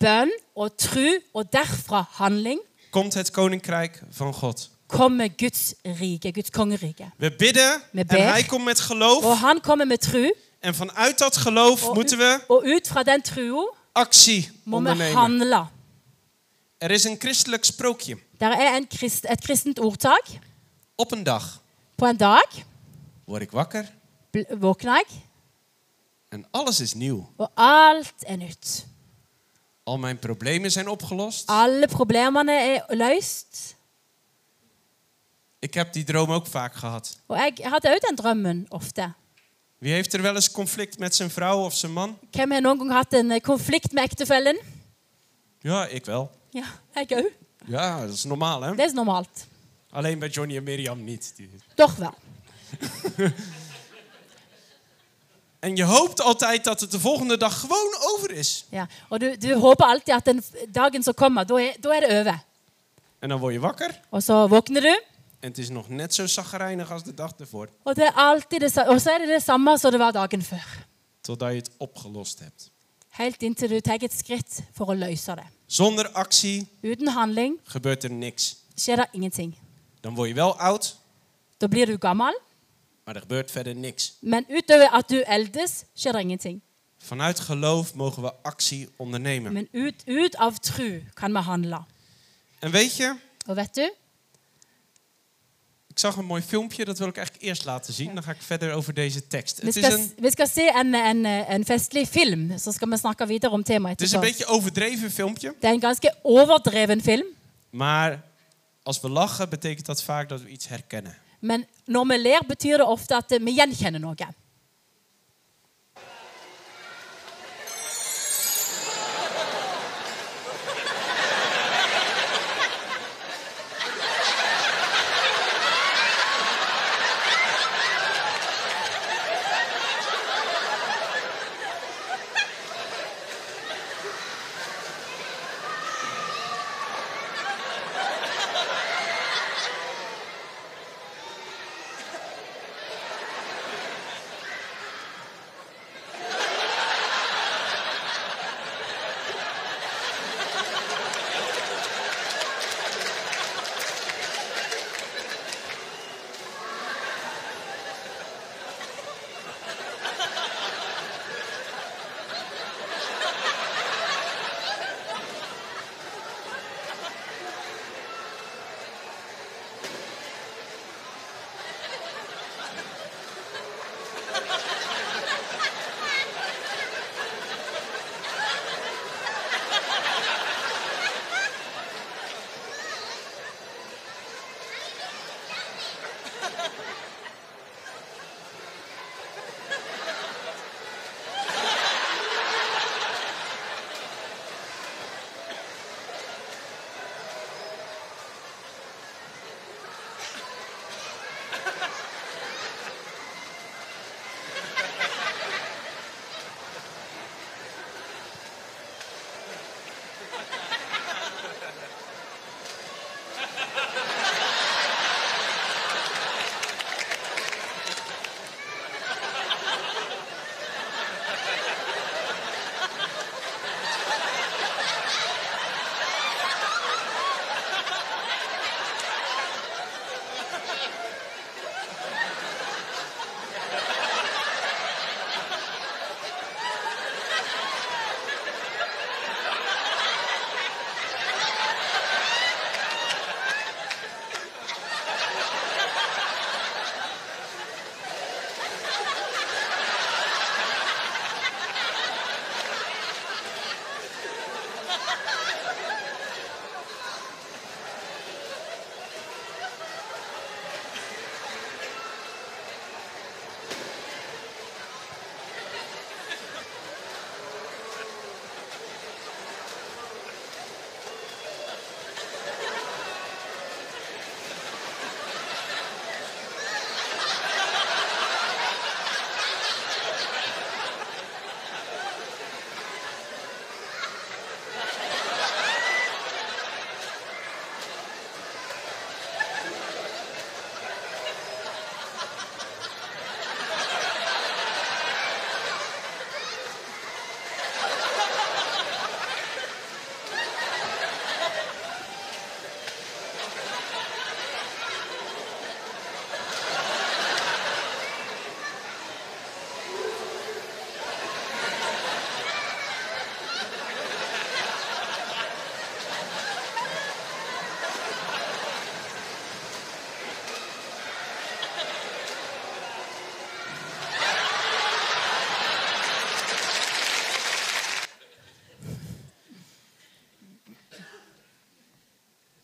[SPEAKER 1] bønn og tru, og derfra handling,
[SPEAKER 3] komt het koninkrijk van God.
[SPEAKER 1] kommer Guds rike, Guds kongerike.
[SPEAKER 3] We bidden
[SPEAKER 1] Met Oh.
[SPEAKER 3] en
[SPEAKER 1] berg.
[SPEAKER 3] hij komt met
[SPEAKER 1] Og
[SPEAKER 3] geloof.
[SPEAKER 1] han kommer med tru,
[SPEAKER 3] En vanuit dat geloof
[SPEAKER 1] og,
[SPEAKER 3] moeten we
[SPEAKER 1] og ut fra den trua
[SPEAKER 3] actie
[SPEAKER 1] må vi
[SPEAKER 3] ondernemen.
[SPEAKER 1] handle.
[SPEAKER 3] Er is een christelijk sprookje.
[SPEAKER 1] Der er en krist, et kristent ordtak.
[SPEAKER 3] Op een dag
[SPEAKER 1] På en dag
[SPEAKER 3] word ik wakker
[SPEAKER 1] bl- våkner jeg,
[SPEAKER 3] en alles is nieuw.
[SPEAKER 1] og alt er nytt.
[SPEAKER 3] Al mijn problemen zijn opgelost.
[SPEAKER 1] Alle problemene er løst.
[SPEAKER 3] Ik heb die droom ook vaak gehad.
[SPEAKER 1] Og jeg hadde òg den drømmen ofte.
[SPEAKER 3] Wie heeft er wel eens conflict met zijn vrouw of zijn man?
[SPEAKER 1] Hvem har noen gang hatt en eh, konflikt med ektefellen?
[SPEAKER 3] Ja, ik wel.
[SPEAKER 1] Ja, jeg òg.
[SPEAKER 3] Ja, dat is normaal hè?
[SPEAKER 1] Det er normalt.
[SPEAKER 3] Alleen bij Johnny en Mirjam niet. Die-
[SPEAKER 1] Doch vel.
[SPEAKER 3] En je hoopt altijd dat het de volgende dag gewoon over is.
[SPEAKER 1] Ja. Og du, du håper alltid at den f- dagen som kommer, da er, da er det over.
[SPEAKER 3] En dan word je wakker
[SPEAKER 1] Og så våkner du,
[SPEAKER 3] en het is nog net zo zagrijnig als de dag ervoor.
[SPEAKER 1] og, det er alltid det, sa- og så er det det samme som det var dagen før.
[SPEAKER 3] Totdat je het opgelost hebt.
[SPEAKER 1] Helt inntil du tar et skritt for å løse det.
[SPEAKER 3] Zonder actie
[SPEAKER 1] Uten handling
[SPEAKER 3] gebeurt er niks.
[SPEAKER 1] skjer det ingenting.
[SPEAKER 3] Dan word je wel oud,
[SPEAKER 1] Da blir du gammel,
[SPEAKER 3] maar er gebeurt verder niks.
[SPEAKER 1] men utover at du eldes, skjer det ingenting.
[SPEAKER 3] Vanuit geloof mogen we actie ondernemen.
[SPEAKER 1] Men ut, ut av tru kan vi handle.
[SPEAKER 3] En weet je,
[SPEAKER 1] Og vet du,
[SPEAKER 3] ik zag een mooi filmpje, dat wil ik eigenlijk eerst laten zien. Dan ga ik verder over deze tekst.
[SPEAKER 1] vi
[SPEAKER 3] Het is
[SPEAKER 1] skal,
[SPEAKER 3] een,
[SPEAKER 1] vi skal se en, en, en festlig film, så skal vi snakke videre om temaet
[SPEAKER 3] het is een
[SPEAKER 1] etterpå.
[SPEAKER 3] beetje overdreven filmpje,
[SPEAKER 1] Det er en ganske overdreven film,
[SPEAKER 3] maar als we lachen betekent dat vaak dat we iets herkennen.
[SPEAKER 1] men når vi ler, betyr det ofte at vi gjenkjenner noe.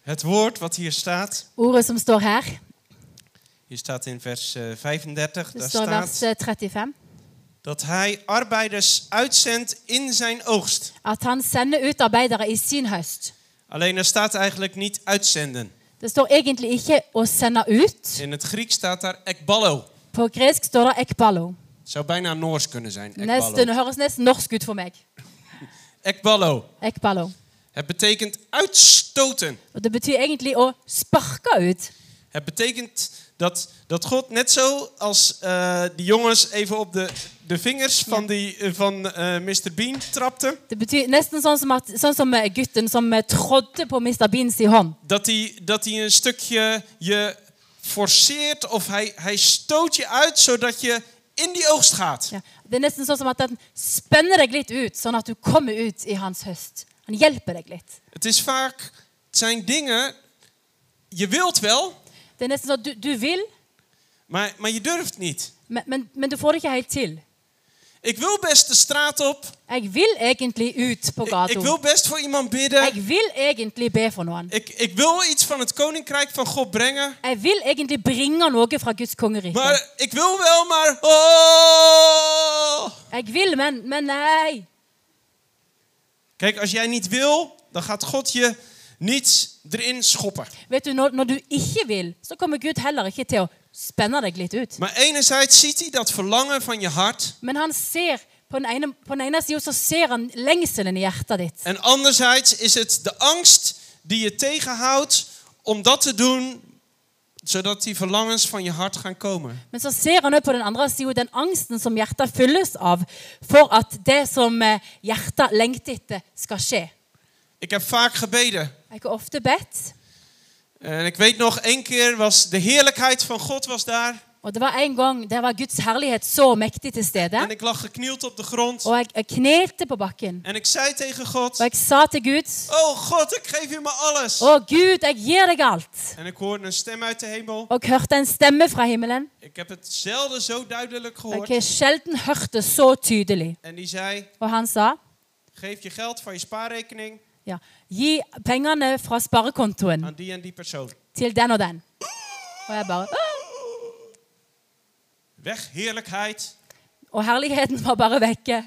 [SPEAKER 3] Het woord wat hier staat,
[SPEAKER 1] Ordet som står her,
[SPEAKER 3] hier staat in vers eh, 35,
[SPEAKER 1] det
[SPEAKER 3] daar
[SPEAKER 1] står i vers eh,
[SPEAKER 3] staat
[SPEAKER 1] 35,
[SPEAKER 3] dat hij arbeiders uitzendt in zijn oogst.
[SPEAKER 1] at han sender ut arbeidere i sin høst.
[SPEAKER 3] Alleen er staat eigenlijk niet uitzenden.
[SPEAKER 1] Det står egentlig ikke 'å sende ut'.
[SPEAKER 3] In het Grieks staat daar ekballo.
[SPEAKER 1] På gresk står det 'ekballo'.
[SPEAKER 3] Het zou bijna Noors kunnen zijn.
[SPEAKER 1] Nesten,
[SPEAKER 3] Ekballo.
[SPEAKER 1] det høres nesten norsk ut for meg.
[SPEAKER 3] Ekballo.
[SPEAKER 1] Ekballo.
[SPEAKER 3] Het betekent uitstoten.
[SPEAKER 1] Og Det betyr egentlig å sparke ut.
[SPEAKER 3] Het betekent dat, dat God, net zo als eh die jongens even op de, de vingers van, die, eh, van eh, Mr. Bean trapte,
[SPEAKER 1] Det betyr Nesten sånn som, at, sånn som eh, gutten som eh, trådde på Mr. Beans i hånd.
[SPEAKER 3] dat hij, dat hij een stukje je forceert of hij, hij stoot je uit zodat je in die oogst gaat.
[SPEAKER 1] Ja. Det er nesten sånn som at han spenner deg litt ut, sånn at du kommer ut i hans høst. Han hjelper deg litt.
[SPEAKER 3] Het is vaak, het zijn dingen, je wilt wel,
[SPEAKER 1] Det er nesten sånn at du, du vil,
[SPEAKER 3] maar, maar je durft niet.
[SPEAKER 1] men, men, men du får det ikke helt til.
[SPEAKER 3] Ik wil best de straat op.
[SPEAKER 1] Jeg vil egentlig ut på
[SPEAKER 3] Ik, ik
[SPEAKER 1] gata.
[SPEAKER 3] wil best voor iemand bidden.
[SPEAKER 1] Jeg wil egentlig be for noen.
[SPEAKER 3] Ik, ik wil iets van het koninkrijk van God brengen.
[SPEAKER 1] Jeg vil egentlig bringe noe fra Guds kongerike.
[SPEAKER 3] Maar ik wil wel, maar. Oh!
[SPEAKER 1] Jeg vil, men, men nei.
[SPEAKER 3] Kijk, als jij niet wil, dan gaat God je niet erin schoppen.
[SPEAKER 1] Vet du, når, når du ikke vil, så kommer Gud heller ikke til å spenne deg litt ut.
[SPEAKER 3] Maar enerzijds ziet hij dat verlangen van je hart.
[SPEAKER 1] Men han ser, på den ene, på den ene siden så ser han lengselen i hjertet ditt.
[SPEAKER 3] En anderzijds is het de angst die je tegenhoudt om dat te doen, zodat die verlangens van je hart gaan komen.
[SPEAKER 1] Men så ser han også på den andre siden den angsten som hjertet fylles av for at det som eh, hjertet lengter etter, skal skje.
[SPEAKER 3] Ik heb vaak gebeden.
[SPEAKER 1] Jeg har ofte bedt,
[SPEAKER 3] En ik weet nog, één keer was de heerlijkheid van God was daar.
[SPEAKER 1] og det var en gang der var Guds herlighet så mektig til stede,
[SPEAKER 3] En ik lag geknield op de grond.
[SPEAKER 1] og jeg, jeg knelte på bakken.
[SPEAKER 3] En ik zei tegen
[SPEAKER 1] Og
[SPEAKER 3] God,
[SPEAKER 1] jeg sa til Gud,
[SPEAKER 3] oh God, ik geef u me alles.
[SPEAKER 1] å Gud, jeg gir deg alt.
[SPEAKER 3] En ik hoorde een stem uit de hemel.
[SPEAKER 1] Og jeg hørte en stemme fra himmelen.
[SPEAKER 3] Ik heb het zelden zo duidelijk
[SPEAKER 1] Jeg
[SPEAKER 3] gehoord.
[SPEAKER 1] har sjelden hørt det så tydelig.
[SPEAKER 3] En die zei:
[SPEAKER 1] Og han sa,
[SPEAKER 3] Geef je geld van je spaarrekening
[SPEAKER 1] ja, gi pengene fra sparekontoen
[SPEAKER 3] aan die en die persoon.
[SPEAKER 1] til den og den. Og jeg bare, «Åh!»
[SPEAKER 3] Weg, heerlijkheid.
[SPEAKER 1] og herligheten var bare vekke.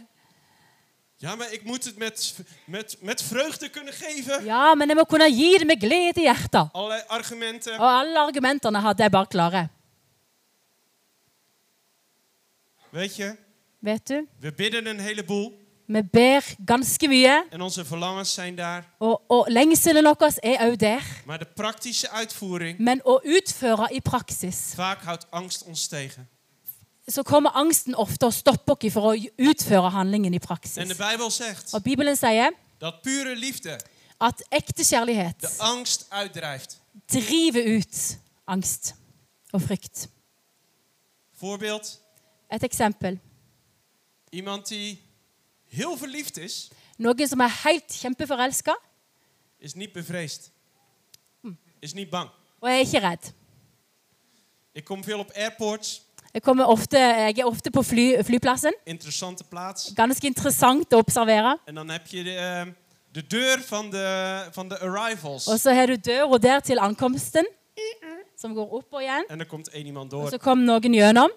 [SPEAKER 3] Ja, maar ik moet het met, met, met vreugde kunnen geven.
[SPEAKER 1] Ja, men jeg må kunne gi det med glede i hjertet.
[SPEAKER 3] Allerlei argumenten.
[SPEAKER 1] Og alle argumentene hadde jeg bare klare.
[SPEAKER 3] Weet je,
[SPEAKER 1] Vet du,
[SPEAKER 3] we bidden een heleboel.
[SPEAKER 1] vi ber ganske mye,
[SPEAKER 3] En onze verlangens zijn daar.
[SPEAKER 1] og, og lengselen vår er òg der.
[SPEAKER 3] Maar de praktische uitvoering,
[SPEAKER 1] Men å utføre i praksis,
[SPEAKER 3] vaak houdt angst ons tegen.
[SPEAKER 1] så kommer angsten ofte og stopper oss for å utføre handlingen i
[SPEAKER 3] En de
[SPEAKER 1] praksis.
[SPEAKER 3] Bijbel zegt
[SPEAKER 1] Og Bibelen sier
[SPEAKER 3] dat pure liefde
[SPEAKER 1] at ekte kjærlighet
[SPEAKER 3] de angst uitdrijft.
[SPEAKER 1] driver ut angst og frykt.
[SPEAKER 3] Voorbeeld,
[SPEAKER 1] Et eksempel.
[SPEAKER 3] iemand die heel verliefd is,
[SPEAKER 1] Noen som er helt kjempeforelska
[SPEAKER 3] is niet bevreesd. Is niet bang.
[SPEAKER 1] og er ikke redd.
[SPEAKER 3] Ik kom veel op airports,
[SPEAKER 1] Jeg, kommer ofte, jeg er ofte på fly, flyplassen.
[SPEAKER 3] interessante plaats.
[SPEAKER 1] Ganske interessant å observere.
[SPEAKER 3] En dan heb je de, eh, de deur van de, van de arrivals.
[SPEAKER 1] Og så har du døra der til ankomsten, som går opp og igjen.
[SPEAKER 3] En er komt één iemand
[SPEAKER 1] Og
[SPEAKER 3] door.
[SPEAKER 1] så kom noen gjennom.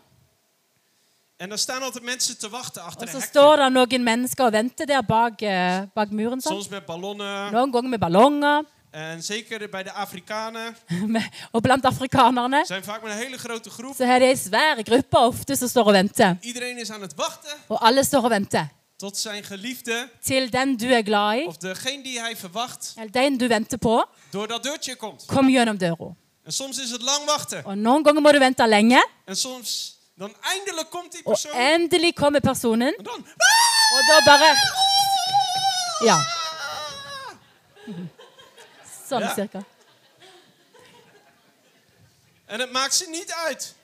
[SPEAKER 3] En dan staan altijd mensen te wachten achter
[SPEAKER 1] Og
[SPEAKER 3] een
[SPEAKER 1] så
[SPEAKER 3] hekje.
[SPEAKER 1] står det noen mennesker og venter der bak, eh, bak muren. Sånn.
[SPEAKER 3] Soms met ballonnen.
[SPEAKER 1] Noen ganger med ballonger. [laughs]
[SPEAKER 3] En zeker bij de Afrikanen.
[SPEAKER 1] med- Og blant afrikanerne
[SPEAKER 3] Zijn vaak met een hele grote groep.
[SPEAKER 1] så har de ei svær gruppe ofte som står og venter.
[SPEAKER 3] Iedereen is aan het wachten
[SPEAKER 1] Og alle står og venter.
[SPEAKER 3] tot zijn geliefde
[SPEAKER 1] Til den du er glad i,
[SPEAKER 3] of degene die hij verwacht
[SPEAKER 1] eller den du venter på,
[SPEAKER 3] door dat deurtje komt.
[SPEAKER 1] kom gjennom døra.
[SPEAKER 3] En soms is het lang wachten.
[SPEAKER 1] Og noen ganger må du vente lenge.
[SPEAKER 3] En soms dan eindelijk komt die
[SPEAKER 1] Og
[SPEAKER 3] persoon.
[SPEAKER 1] endelig kommer personen,
[SPEAKER 3] En dan. ah!
[SPEAKER 1] og da bare Ja. [laughs] Sånn
[SPEAKER 3] Ja.
[SPEAKER 1] cirka.
[SPEAKER 3] En het maakt ze niet uit.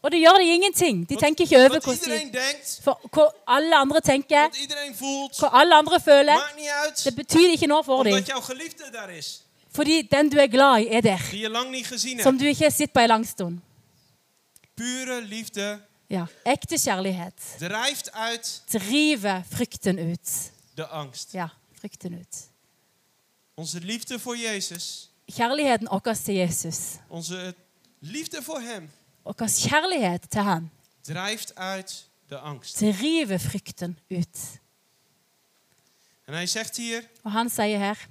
[SPEAKER 1] Og det gjør de ingenting. De tenker ikke over
[SPEAKER 3] Wat
[SPEAKER 1] hvordan
[SPEAKER 3] iedereen denkt,
[SPEAKER 1] for hva alle andre tenker,
[SPEAKER 3] wat iedereen voelt,
[SPEAKER 1] hva alle andre føler.
[SPEAKER 3] maakt niet uit.
[SPEAKER 1] Det betyr ikke noe for dem.
[SPEAKER 3] Omdat jouw geliefde daar is,
[SPEAKER 1] Fordi den du er glad i, er der.
[SPEAKER 3] die je lang niet gezien
[SPEAKER 1] Som
[SPEAKER 3] hebt.
[SPEAKER 1] du ikke har sett på en lang stund.
[SPEAKER 3] Pure liefde
[SPEAKER 1] Ja. Ekte kjærlighet
[SPEAKER 3] drijft uit
[SPEAKER 1] driver frykten ut.
[SPEAKER 3] de angst.
[SPEAKER 1] Ja, frykten ut.
[SPEAKER 3] Onze liefde voor Jezus
[SPEAKER 1] kjærligheten vår til Jesus,
[SPEAKER 3] Onze liefde voor Hem
[SPEAKER 1] vår kjærlighet til han,
[SPEAKER 3] drijft uit de angst.
[SPEAKER 1] driver frykten ut.
[SPEAKER 3] En hij zegt hier,
[SPEAKER 1] Og han sier her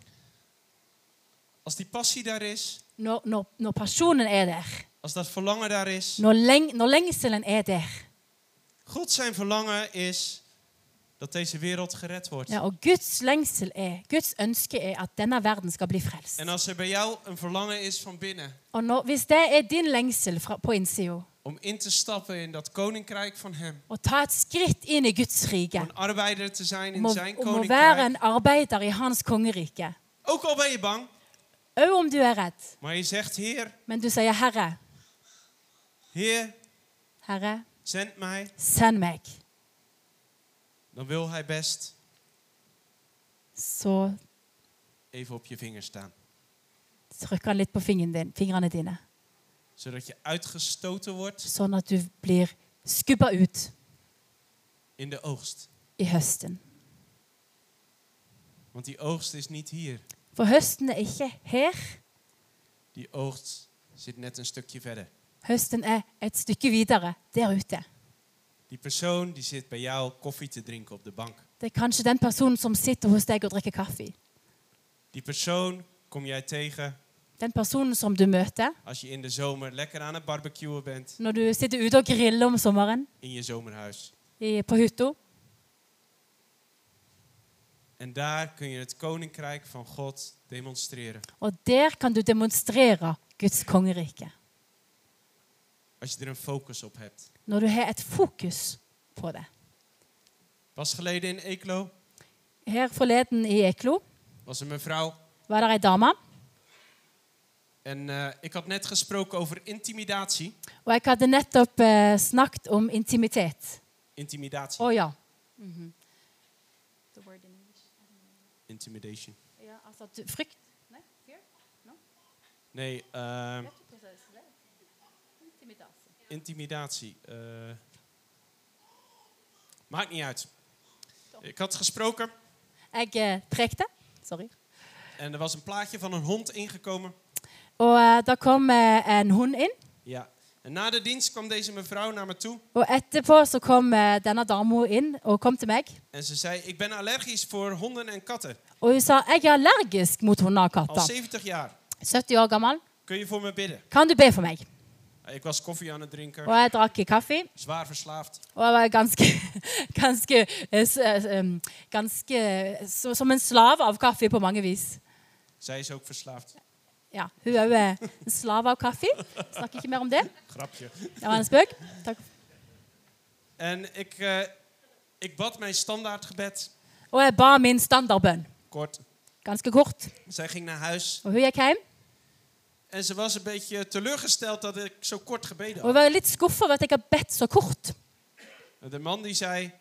[SPEAKER 3] als die passie daar is,
[SPEAKER 1] Når, når, når pasjonen er der,
[SPEAKER 3] als dat verlangen daar is,
[SPEAKER 1] når, leng, når lengselen er der,
[SPEAKER 3] God zijn verlangen is dat deze wereld gered wordt.
[SPEAKER 1] ja, og Guds lengsel er, Guds ønske er at denne verden skal bli frelst.
[SPEAKER 3] En als er bij jou een verlangen is van binnen
[SPEAKER 1] Og når, Hvis det er din lengsel fra, på innsida,
[SPEAKER 3] om in te stappen in dat koninkrijk van Hem,
[SPEAKER 1] å ta et skritt inn i Guds
[SPEAKER 3] om
[SPEAKER 1] rike,
[SPEAKER 3] een arbeider te zijn
[SPEAKER 1] om
[SPEAKER 3] in
[SPEAKER 1] å,
[SPEAKER 3] zijn
[SPEAKER 1] om å være en
[SPEAKER 3] koninkrijk,
[SPEAKER 1] arbeider i Hans kongerike,
[SPEAKER 3] ook al ben je bang,
[SPEAKER 1] òg om du er redd,
[SPEAKER 3] maar je zegt, Heer,
[SPEAKER 1] men du sier 'Herre,
[SPEAKER 3] Heer,
[SPEAKER 1] Herre,
[SPEAKER 3] zend mij,
[SPEAKER 1] send meg',
[SPEAKER 3] dan wil Hij best
[SPEAKER 1] så
[SPEAKER 3] even op je vinger staan.
[SPEAKER 1] trykker han litt på fingeren din, fingrene dine,
[SPEAKER 3] Zodat je uitgestoten wordt
[SPEAKER 1] sånn at du blir skubba ut
[SPEAKER 3] in de oogst.
[SPEAKER 1] i høsten.
[SPEAKER 3] Want die oogst is niet hier.
[SPEAKER 1] For høsten er ikke her.
[SPEAKER 3] Die oogst zit net een stukje verder.
[SPEAKER 1] Høsten er et stykke videre, der ute.
[SPEAKER 3] Die persoon die zit bij jou koffie te drinken op de bank.
[SPEAKER 1] Det er kanskje den personen som sitter hos deg og drikker kaffe.
[SPEAKER 3] Die persoon kom jij tegen
[SPEAKER 1] Den personen som du møter
[SPEAKER 3] als je in de zomer lekker aan het barbecuen bent
[SPEAKER 1] når du sitter ute og griller om sommeren
[SPEAKER 3] in je zomerhuis.
[SPEAKER 1] i, på hytta.
[SPEAKER 3] En daar kun je het koninkrijk van God demonstreren.
[SPEAKER 1] Og der kan du demonstrere Guds kongerike.
[SPEAKER 3] Als je er een focus op hebt.
[SPEAKER 1] Når du har et fokus på det.
[SPEAKER 3] Pas geleden in Eeklo
[SPEAKER 1] Her forleden i Eklo
[SPEAKER 3] was er mevrouw.
[SPEAKER 1] var det ei dame.
[SPEAKER 3] En eh, ik had net gesproken over intimidatie.
[SPEAKER 1] Og jeg hadde nettopp eh, snakket om intimitet.
[SPEAKER 3] Intimidatie.
[SPEAKER 1] Å ja.
[SPEAKER 3] Intimidation.
[SPEAKER 1] ja altså, du, frykt
[SPEAKER 3] Nee, ehm intimidatie. eh. maakt niet uit. Ik had gesproken
[SPEAKER 1] Jeg eh, prekte. Sorry.
[SPEAKER 3] en er was een plaatje van een hond ingekomen.
[SPEAKER 1] Og eh, da kom eh, en hund inn.
[SPEAKER 3] Ja. En na de dienst kwam deze mevrouw naar me toe
[SPEAKER 1] Og etterpå så kom eh, denne dama inn og kom til meg.
[SPEAKER 3] en ze zei: Ik ben allergisch voor honden en katten.
[SPEAKER 1] Og hun sa jeg er allergisk mot hunder og
[SPEAKER 3] Al
[SPEAKER 1] katter.
[SPEAKER 3] 70 jaar.
[SPEAKER 1] 70 år gammel.
[SPEAKER 3] Kun je voor me bidden? Nou,
[SPEAKER 1] Kan du be for meg?
[SPEAKER 3] Ik was koffie aan het
[SPEAKER 1] Og
[SPEAKER 3] drinken,
[SPEAKER 1] jeg drakk kaffe.
[SPEAKER 3] zwaar verslaafd.
[SPEAKER 1] Og jeg var ganske, [laughs] ganske, eh, s- eh, um, ganske så, Som en slav av kaffe på mange vis.
[SPEAKER 3] Zij is ook verslaafd.
[SPEAKER 1] Ja, Hun er òg en slav av kaffe. Snakker ikke mer om det.
[SPEAKER 3] Grapje.
[SPEAKER 1] Det var en spøk. Takk.
[SPEAKER 3] En ik, eh, ik bad mijn standaardgebed
[SPEAKER 1] Og jeg ba min standardbønn.
[SPEAKER 3] kort.
[SPEAKER 1] Ganske kort.
[SPEAKER 3] Zij ging naar huis.
[SPEAKER 1] Og hun gikk hjem.
[SPEAKER 3] En ze was een beetje teleurgesteld dat ik zo kort
[SPEAKER 1] Og
[SPEAKER 3] gebeden
[SPEAKER 1] hun
[SPEAKER 3] had.
[SPEAKER 1] var litt skuffa over at jeg had bedt så kort.
[SPEAKER 3] De man die zei,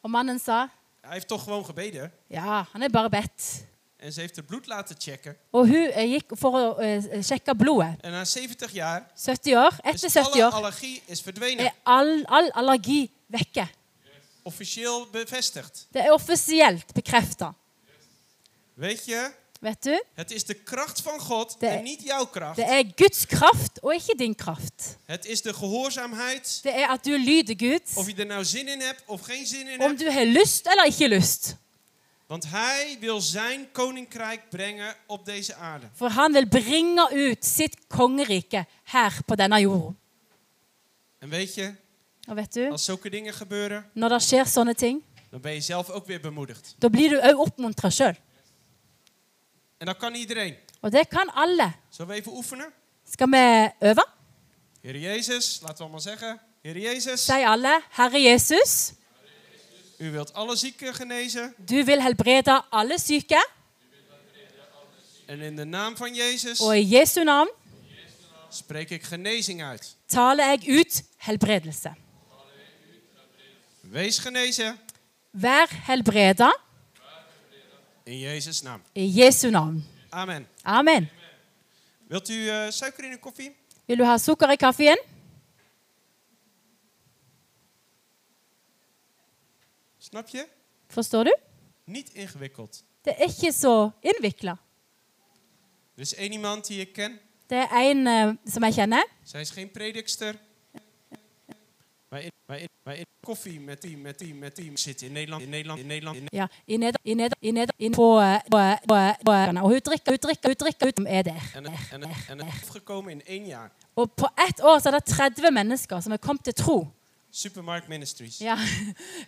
[SPEAKER 1] Og mannen sa
[SPEAKER 3] hij heeft toch gewoon gebeden.
[SPEAKER 1] ja, han er bare bedt.
[SPEAKER 3] En ze heeft haar bloed laten checken.
[SPEAKER 1] Og hun eh, gikk for å eh, sjekke blodet.
[SPEAKER 3] En na 70 jaar
[SPEAKER 1] 70 år. Etter
[SPEAKER 3] is
[SPEAKER 1] 70
[SPEAKER 3] Dus alle
[SPEAKER 1] år
[SPEAKER 3] allergie is verdwenen.
[SPEAKER 1] er all, all allergi vekke.
[SPEAKER 3] Officieel bevestigd.
[SPEAKER 1] Det er offisielt bekrefta.
[SPEAKER 3] Weet je,
[SPEAKER 1] Vet du?
[SPEAKER 3] het is de kracht van God
[SPEAKER 1] De-
[SPEAKER 3] en niet jouw kracht.
[SPEAKER 1] Det er Guds kraft og ikke din kraft.
[SPEAKER 3] Het is de gehoorzaamheid.
[SPEAKER 1] Det er at du lyder
[SPEAKER 3] Of
[SPEAKER 1] Gud,
[SPEAKER 3] je er nou zin in hebt of geen zin in
[SPEAKER 1] om
[SPEAKER 3] hebt.
[SPEAKER 1] du har lyst eller ikke lyst.
[SPEAKER 3] Want hij wil zijn koninkrijk brengen op deze aarde.
[SPEAKER 1] For han vil bringe ut sitt kongerike her på denne jorda.
[SPEAKER 3] En weet je,
[SPEAKER 1] Og vet du,
[SPEAKER 3] als zulke dingen gebeuren,
[SPEAKER 1] når det skjer sånne ting,
[SPEAKER 3] dan ben je zelf ook weer bemoedigd.
[SPEAKER 1] da blir du òg oppmuntra sjøl.
[SPEAKER 3] En dat kan iedereen.
[SPEAKER 1] Og det kan alle.
[SPEAKER 3] Zullen we even oefenen?
[SPEAKER 1] Skal vi øve?
[SPEAKER 3] Heer Jezus, laten we allemaal zeggen. Heer Jezus,
[SPEAKER 1] Si alle Herre Jesus,
[SPEAKER 3] u wilt alle zieken genezen.
[SPEAKER 1] du vil helbrede alle syke,
[SPEAKER 3] En in de naam van Jezus
[SPEAKER 1] og i Jesu navn
[SPEAKER 3] spreek ik genezing uit.
[SPEAKER 1] taler jeg ut helbredelse.
[SPEAKER 3] Wees genezen
[SPEAKER 1] Vær helbreda
[SPEAKER 3] in Jezus' naam.
[SPEAKER 1] i Jesu navn.
[SPEAKER 3] Amen.
[SPEAKER 1] Amen.
[SPEAKER 3] Wilt u eh, suiker in uw koffie?
[SPEAKER 1] Vil du ha sukker i kaffen?
[SPEAKER 3] Snap je?
[SPEAKER 1] Forstår du?
[SPEAKER 3] Niet ingewikkeld.
[SPEAKER 1] Det er ikke så innvikla.
[SPEAKER 3] Er is één iemand die ik ken.
[SPEAKER 1] Det er en eh, som jeg kjenner.
[SPEAKER 3] Zij is geen predikster. Maar in, maar in, maar in koffie met die, met die, met die zit in Nederland, in Nederland, in Nederland. In
[SPEAKER 1] Ja, i neder, i neder, i neder, in på, eh, på, eh, på, eh, på eh, Og hun drikker, hun drikker, hun drikker, hun er der.
[SPEAKER 3] en, en, en, en het is afgekomen in één jaar.
[SPEAKER 1] Og på ett år så er det 30 mennesker som er kommet til tro.
[SPEAKER 3] Supermarkt Ministries. Ja.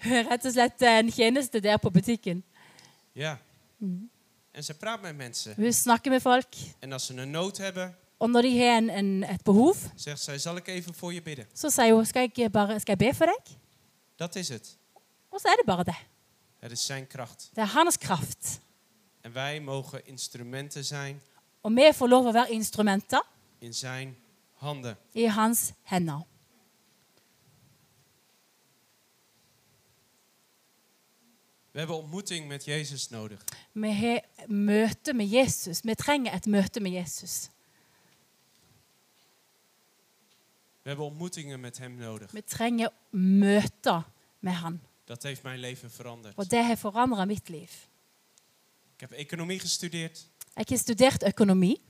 [SPEAKER 1] Ja, [laughs] Rett og slett en tjeneste der på butikken.
[SPEAKER 3] Mhm. En ze praat met mensen.
[SPEAKER 1] Hun snakker med folk,
[SPEAKER 3] En als ze een nood hebben,
[SPEAKER 1] og når de har en, en, et behov,
[SPEAKER 3] zegt zij, zal ik even voor je bidden.
[SPEAKER 1] så sier hun skal jeg, bare, 'Skal jeg be for deg?'
[SPEAKER 3] Dat is het.
[SPEAKER 1] Og så er det bare det.
[SPEAKER 3] Het is zijn kracht.
[SPEAKER 1] Det er hans kraft.
[SPEAKER 3] En wij mogen instrumenten zijn
[SPEAKER 1] Og vi får lov å være instrumenter
[SPEAKER 3] in zijn handen.
[SPEAKER 1] i hans hender.
[SPEAKER 3] We hebben ontmoeting met Jezus nodig.
[SPEAKER 1] Vi har møte med Jesus. Vi trenger et møte med Jesus.
[SPEAKER 3] We hebben ontmoetingen met Hem nodig.
[SPEAKER 1] Vi trenger møter med han.
[SPEAKER 3] Dat heeft mijn leven veranderd.
[SPEAKER 1] Og det har forandret mitt liv.
[SPEAKER 3] Ik heb economie gestudeerd,
[SPEAKER 1] Jeg har studert økonomi,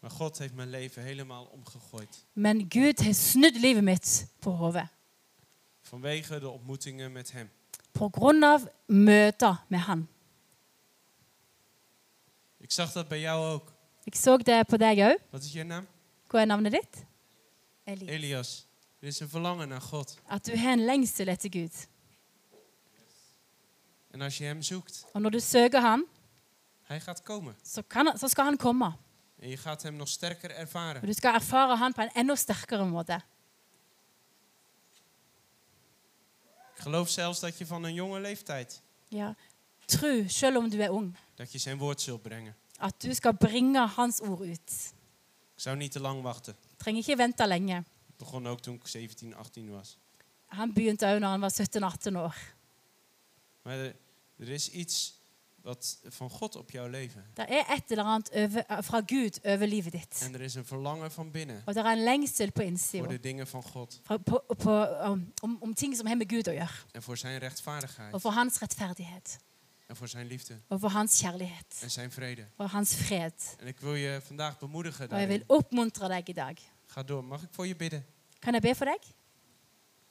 [SPEAKER 3] maar God heeft mijn leven helemaal omgegooid.
[SPEAKER 1] men Gud har snudd livet mitt på hodet.
[SPEAKER 3] Vanwege de ontmoetingen met Hem.
[SPEAKER 1] På grunn av møter med han.
[SPEAKER 3] Ik zag dat bij jou ook.
[SPEAKER 1] Jeg så det på deg òg.
[SPEAKER 3] Wat is je naam?
[SPEAKER 1] Hva er navnet ditt? Eli.
[SPEAKER 3] Elias. Er is een verlangen naar God.
[SPEAKER 1] At du har en lengsel etter Gud.
[SPEAKER 3] En als je Hem zoekt,
[SPEAKER 1] Og når du søker han,
[SPEAKER 3] Hij gaat komen.
[SPEAKER 1] så, kan, så skal han komme.
[SPEAKER 3] En je gaat Hem nog sterker
[SPEAKER 1] Og
[SPEAKER 3] ervaren.
[SPEAKER 1] du skal erfare han på en enda sterkere måte.
[SPEAKER 3] Ik geloof zelfs dat je van een jonge leeftijd
[SPEAKER 1] Ja. Tro, selv om du er ung,
[SPEAKER 3] dat je zijn woord zult brengen.
[SPEAKER 1] at du skal bringe hans ord ut.
[SPEAKER 3] Ik zou niet te lang wachten.
[SPEAKER 1] Trenger ikke vente lenge.
[SPEAKER 3] Ik begon ook toen ik 17, 18 was.
[SPEAKER 1] Han begynte òg når han var 17-18 år.
[SPEAKER 3] Maar er, er is iets wat van God op jouw leven.
[SPEAKER 1] Det er et eller annet over, fra Gud over livet ditt.
[SPEAKER 3] En er is een verlangen van binnen
[SPEAKER 1] Og det er en lengsel på
[SPEAKER 3] voor
[SPEAKER 1] innsida
[SPEAKER 3] de dingen van God
[SPEAKER 1] fra- på, på, om, om- om ting som har med Gud å gjøre.
[SPEAKER 3] en voor zijn
[SPEAKER 1] Og
[SPEAKER 3] rechtvaardigheid
[SPEAKER 1] for hans rettferdighet.
[SPEAKER 3] en voor zijn liefde
[SPEAKER 1] Og for hans kjærlighet.
[SPEAKER 3] en zijn vrede.
[SPEAKER 1] Og hans fred.
[SPEAKER 3] En ik wil je vandaag bemoedigen.
[SPEAKER 1] Og jeg
[SPEAKER 3] daarin.
[SPEAKER 1] vil oppmuntre deg i dag.
[SPEAKER 3] Ga door. Mag ik voor je bidden?
[SPEAKER 1] Kan jeg be for deg?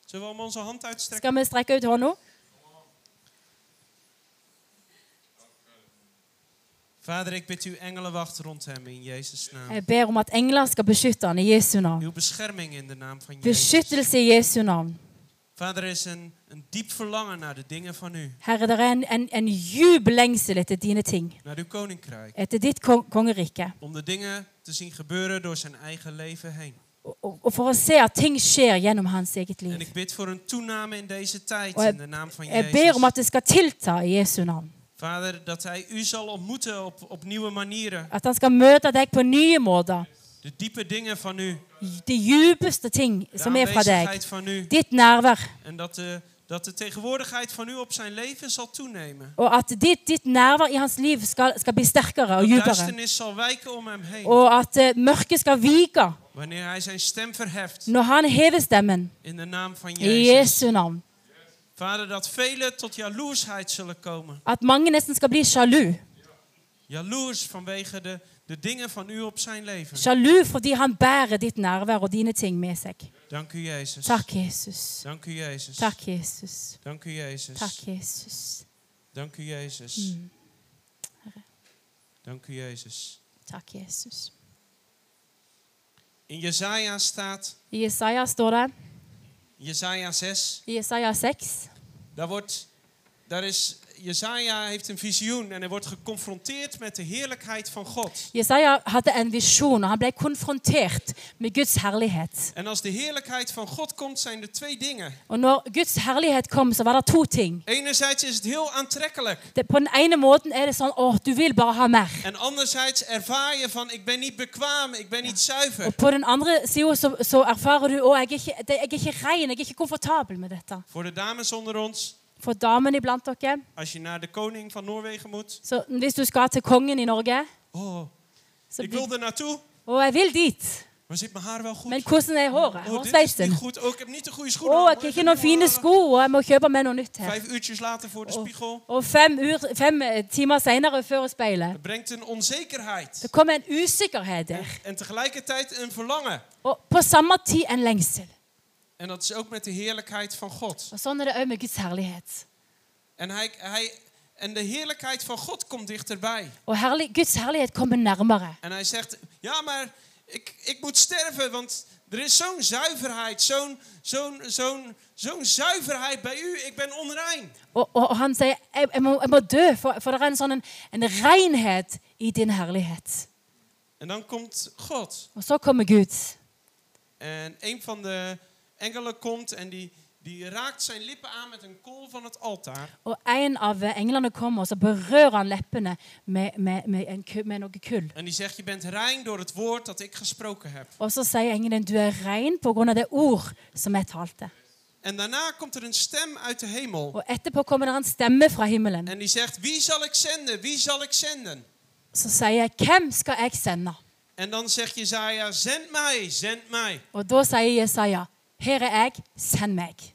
[SPEAKER 3] Zullen we om onze hand uitstrekken?
[SPEAKER 1] Skal vi strekke ut hånda?
[SPEAKER 3] Vader, ik bid uw engelenwacht rond hem in Jezus' naam.
[SPEAKER 1] Jeg ber om at engler skal beskytte han i Jesu navn.
[SPEAKER 3] Uw bescherming in de naam van Jezus.
[SPEAKER 1] Beskyttelse i Jesu navn.
[SPEAKER 3] Vader, er is een, een diep verlangen naar de dingen van u.
[SPEAKER 1] Herre, det er en, en, en djup lengsel etter dine ting.
[SPEAKER 3] Naar uw koninkrijk.
[SPEAKER 1] Etter ditt kong kongerike.
[SPEAKER 3] Om de dingen te zien gebeuren door zijn eigen leven heen.
[SPEAKER 1] Og, og- og for å se at ting skjer gjennom hans eget
[SPEAKER 3] En
[SPEAKER 1] liv.
[SPEAKER 3] ik bid voor een toename in deze tijd
[SPEAKER 1] Oh, eh,
[SPEAKER 3] in de naam van
[SPEAKER 1] Jeg ber om
[SPEAKER 3] Jezus.
[SPEAKER 1] at det skal tilta i Jesu navn.
[SPEAKER 3] Vader, dat hij u zal ontmoeten op, op nieuwe manieren.
[SPEAKER 1] At han skal møte deg på nye måter.
[SPEAKER 3] De diepe dingen van u.
[SPEAKER 1] De djupeste ting
[SPEAKER 3] De
[SPEAKER 1] som er fra deg.
[SPEAKER 3] aanwezigheid van u.
[SPEAKER 1] Ditt nærvær.
[SPEAKER 3] En dat de, dat de tegenwoordigheid van u op zijn leven zal toenemen.
[SPEAKER 1] Og at ditt, ditt nærvær i hans liv skal, skal bli sterkere og dypere.
[SPEAKER 3] Duisternis zal wijken om hem heen.
[SPEAKER 1] Og at eh, mørket skal vike
[SPEAKER 3] Wanneer hij zijn stem verheft
[SPEAKER 1] når han hever stemmen
[SPEAKER 3] in de naam van
[SPEAKER 1] i
[SPEAKER 3] Jezus.
[SPEAKER 1] Jesu navn.
[SPEAKER 3] Vader, dat velen tot jaloersheid zullen komen.
[SPEAKER 1] At mange nesten skal bli sjalu.
[SPEAKER 3] Jaloers vanwege de, de dingen van u op zijn leven.
[SPEAKER 1] Sjalu fordi han bærer ditt nærvær og dine ting med seg.
[SPEAKER 3] Dank u, Jezus.
[SPEAKER 1] Takk, Jesus.
[SPEAKER 3] Dank u, Jezus.
[SPEAKER 1] Takk, Jesus.
[SPEAKER 3] Dank u,
[SPEAKER 1] Takk,
[SPEAKER 3] Jezus.
[SPEAKER 1] Jesus.
[SPEAKER 3] Dank u, Jezus. Dank u, Jezus.
[SPEAKER 1] Takk, Jesus.
[SPEAKER 3] In Jesaja staat,
[SPEAKER 1] I Jesaja står det,
[SPEAKER 3] Jesaja 6,
[SPEAKER 1] i Jesaja 6,
[SPEAKER 3] daar wordt, daar is, Jesaja heeft een visioen en hij wordt geconfronteerd met de heerlijkheid van God.
[SPEAKER 1] Jesaja hadde en visjon, og han ble konfrontert med Guds herlighet.
[SPEAKER 3] En als de heerlijkheid van God komt, zijn er twee dingen.
[SPEAKER 1] Og når Guds herligheid kom, så var det to ting.
[SPEAKER 3] Enerzijds is het heel aantrekkelijk.
[SPEAKER 1] Det, på den ene måten er det sånn åh, du vil bare ha mer.
[SPEAKER 3] En anderzijds ervaar je van, ik ben niet bekwaam, ik ben niet zuiver.
[SPEAKER 1] Og på den andre sida så, så erfarer du å, jeg, er ikke- det- jeg er ikke ren, jeg er ikke komfortabel med dette.
[SPEAKER 3] Voor de dames onder ons,
[SPEAKER 1] For damene iblant dere,
[SPEAKER 3] als je naar de koning van Noorwegen moet.
[SPEAKER 1] så hvis du skal til kongen i Norge
[SPEAKER 3] Oh,
[SPEAKER 1] så
[SPEAKER 3] ik
[SPEAKER 1] blir,
[SPEAKER 3] wil er naartoe,
[SPEAKER 1] Å, jeg vil dit.
[SPEAKER 3] Maar zit mijn haar wel goed?
[SPEAKER 1] Men hvordan er håret?
[SPEAKER 3] oh, dit is niet
[SPEAKER 1] Hårsveisen.
[SPEAKER 3] goed. Oh, ik heb niet de goede
[SPEAKER 1] Å,
[SPEAKER 3] schoenen. aan.
[SPEAKER 1] jeg har ikke noen fine sko, og jeg må kjøpe meg noe nytt her.
[SPEAKER 3] Vijf uurtjes later voor de
[SPEAKER 1] Oh.
[SPEAKER 3] spiegel.
[SPEAKER 1] Og fem, uur, fem eh, timer senere før speilet.
[SPEAKER 3] Het brengt een onzekerheid.
[SPEAKER 1] Det kommer en usikkerhet der,
[SPEAKER 3] En tegelijkertijd een verlangen.
[SPEAKER 1] og på samme tid en lengsel.
[SPEAKER 3] En dat is ook met de heerlijkheid van God.
[SPEAKER 1] Og Sånn er det òg med Guds herlighet.
[SPEAKER 3] En, hij, hij, en de heerlijkheid van God komt dichterbij.
[SPEAKER 1] Og herlig, Guds herlighet kommer nærmere.
[SPEAKER 3] En hij zegt, ja, maar ik, ik moet sterven, want er is zo'n zuiverheid, zo'n zo'n zo'n zo'n zuiverheid bij u. Ik ben onrein.
[SPEAKER 1] Og, og, og han sier jeg, jeg, må, 'Jeg må dø', for, for det er en sånn en, en renhet i din herlighet.
[SPEAKER 3] En dan komt God.
[SPEAKER 1] Og så kommer Gud.
[SPEAKER 3] En een van de engelen komt en die, die raakt zijn lippen aan met een kool van het altaar.
[SPEAKER 1] Og en av englene kommer, og så berører han leppene med, med, med, en, ku- med noe kull.
[SPEAKER 3] En die zegt, je bent rein door het woord dat ik gesproken heb.
[SPEAKER 1] Og så sier engelen 'du er rein på grunn av det ord som jeg talte'.
[SPEAKER 3] En daarna komt er een stem uit de hemel.
[SPEAKER 1] Og etterpå kommer det en stemme fra himmelen.
[SPEAKER 3] En die zegt, wie zal ik zenden? Wie zal ik zenden?
[SPEAKER 1] Så sier jeg 'hvem skal jeg sende'?
[SPEAKER 3] En dan zegt Jezaja, zend mij, zend mij.
[SPEAKER 1] Og da sier Jesaja 'her er jeg, send meg'.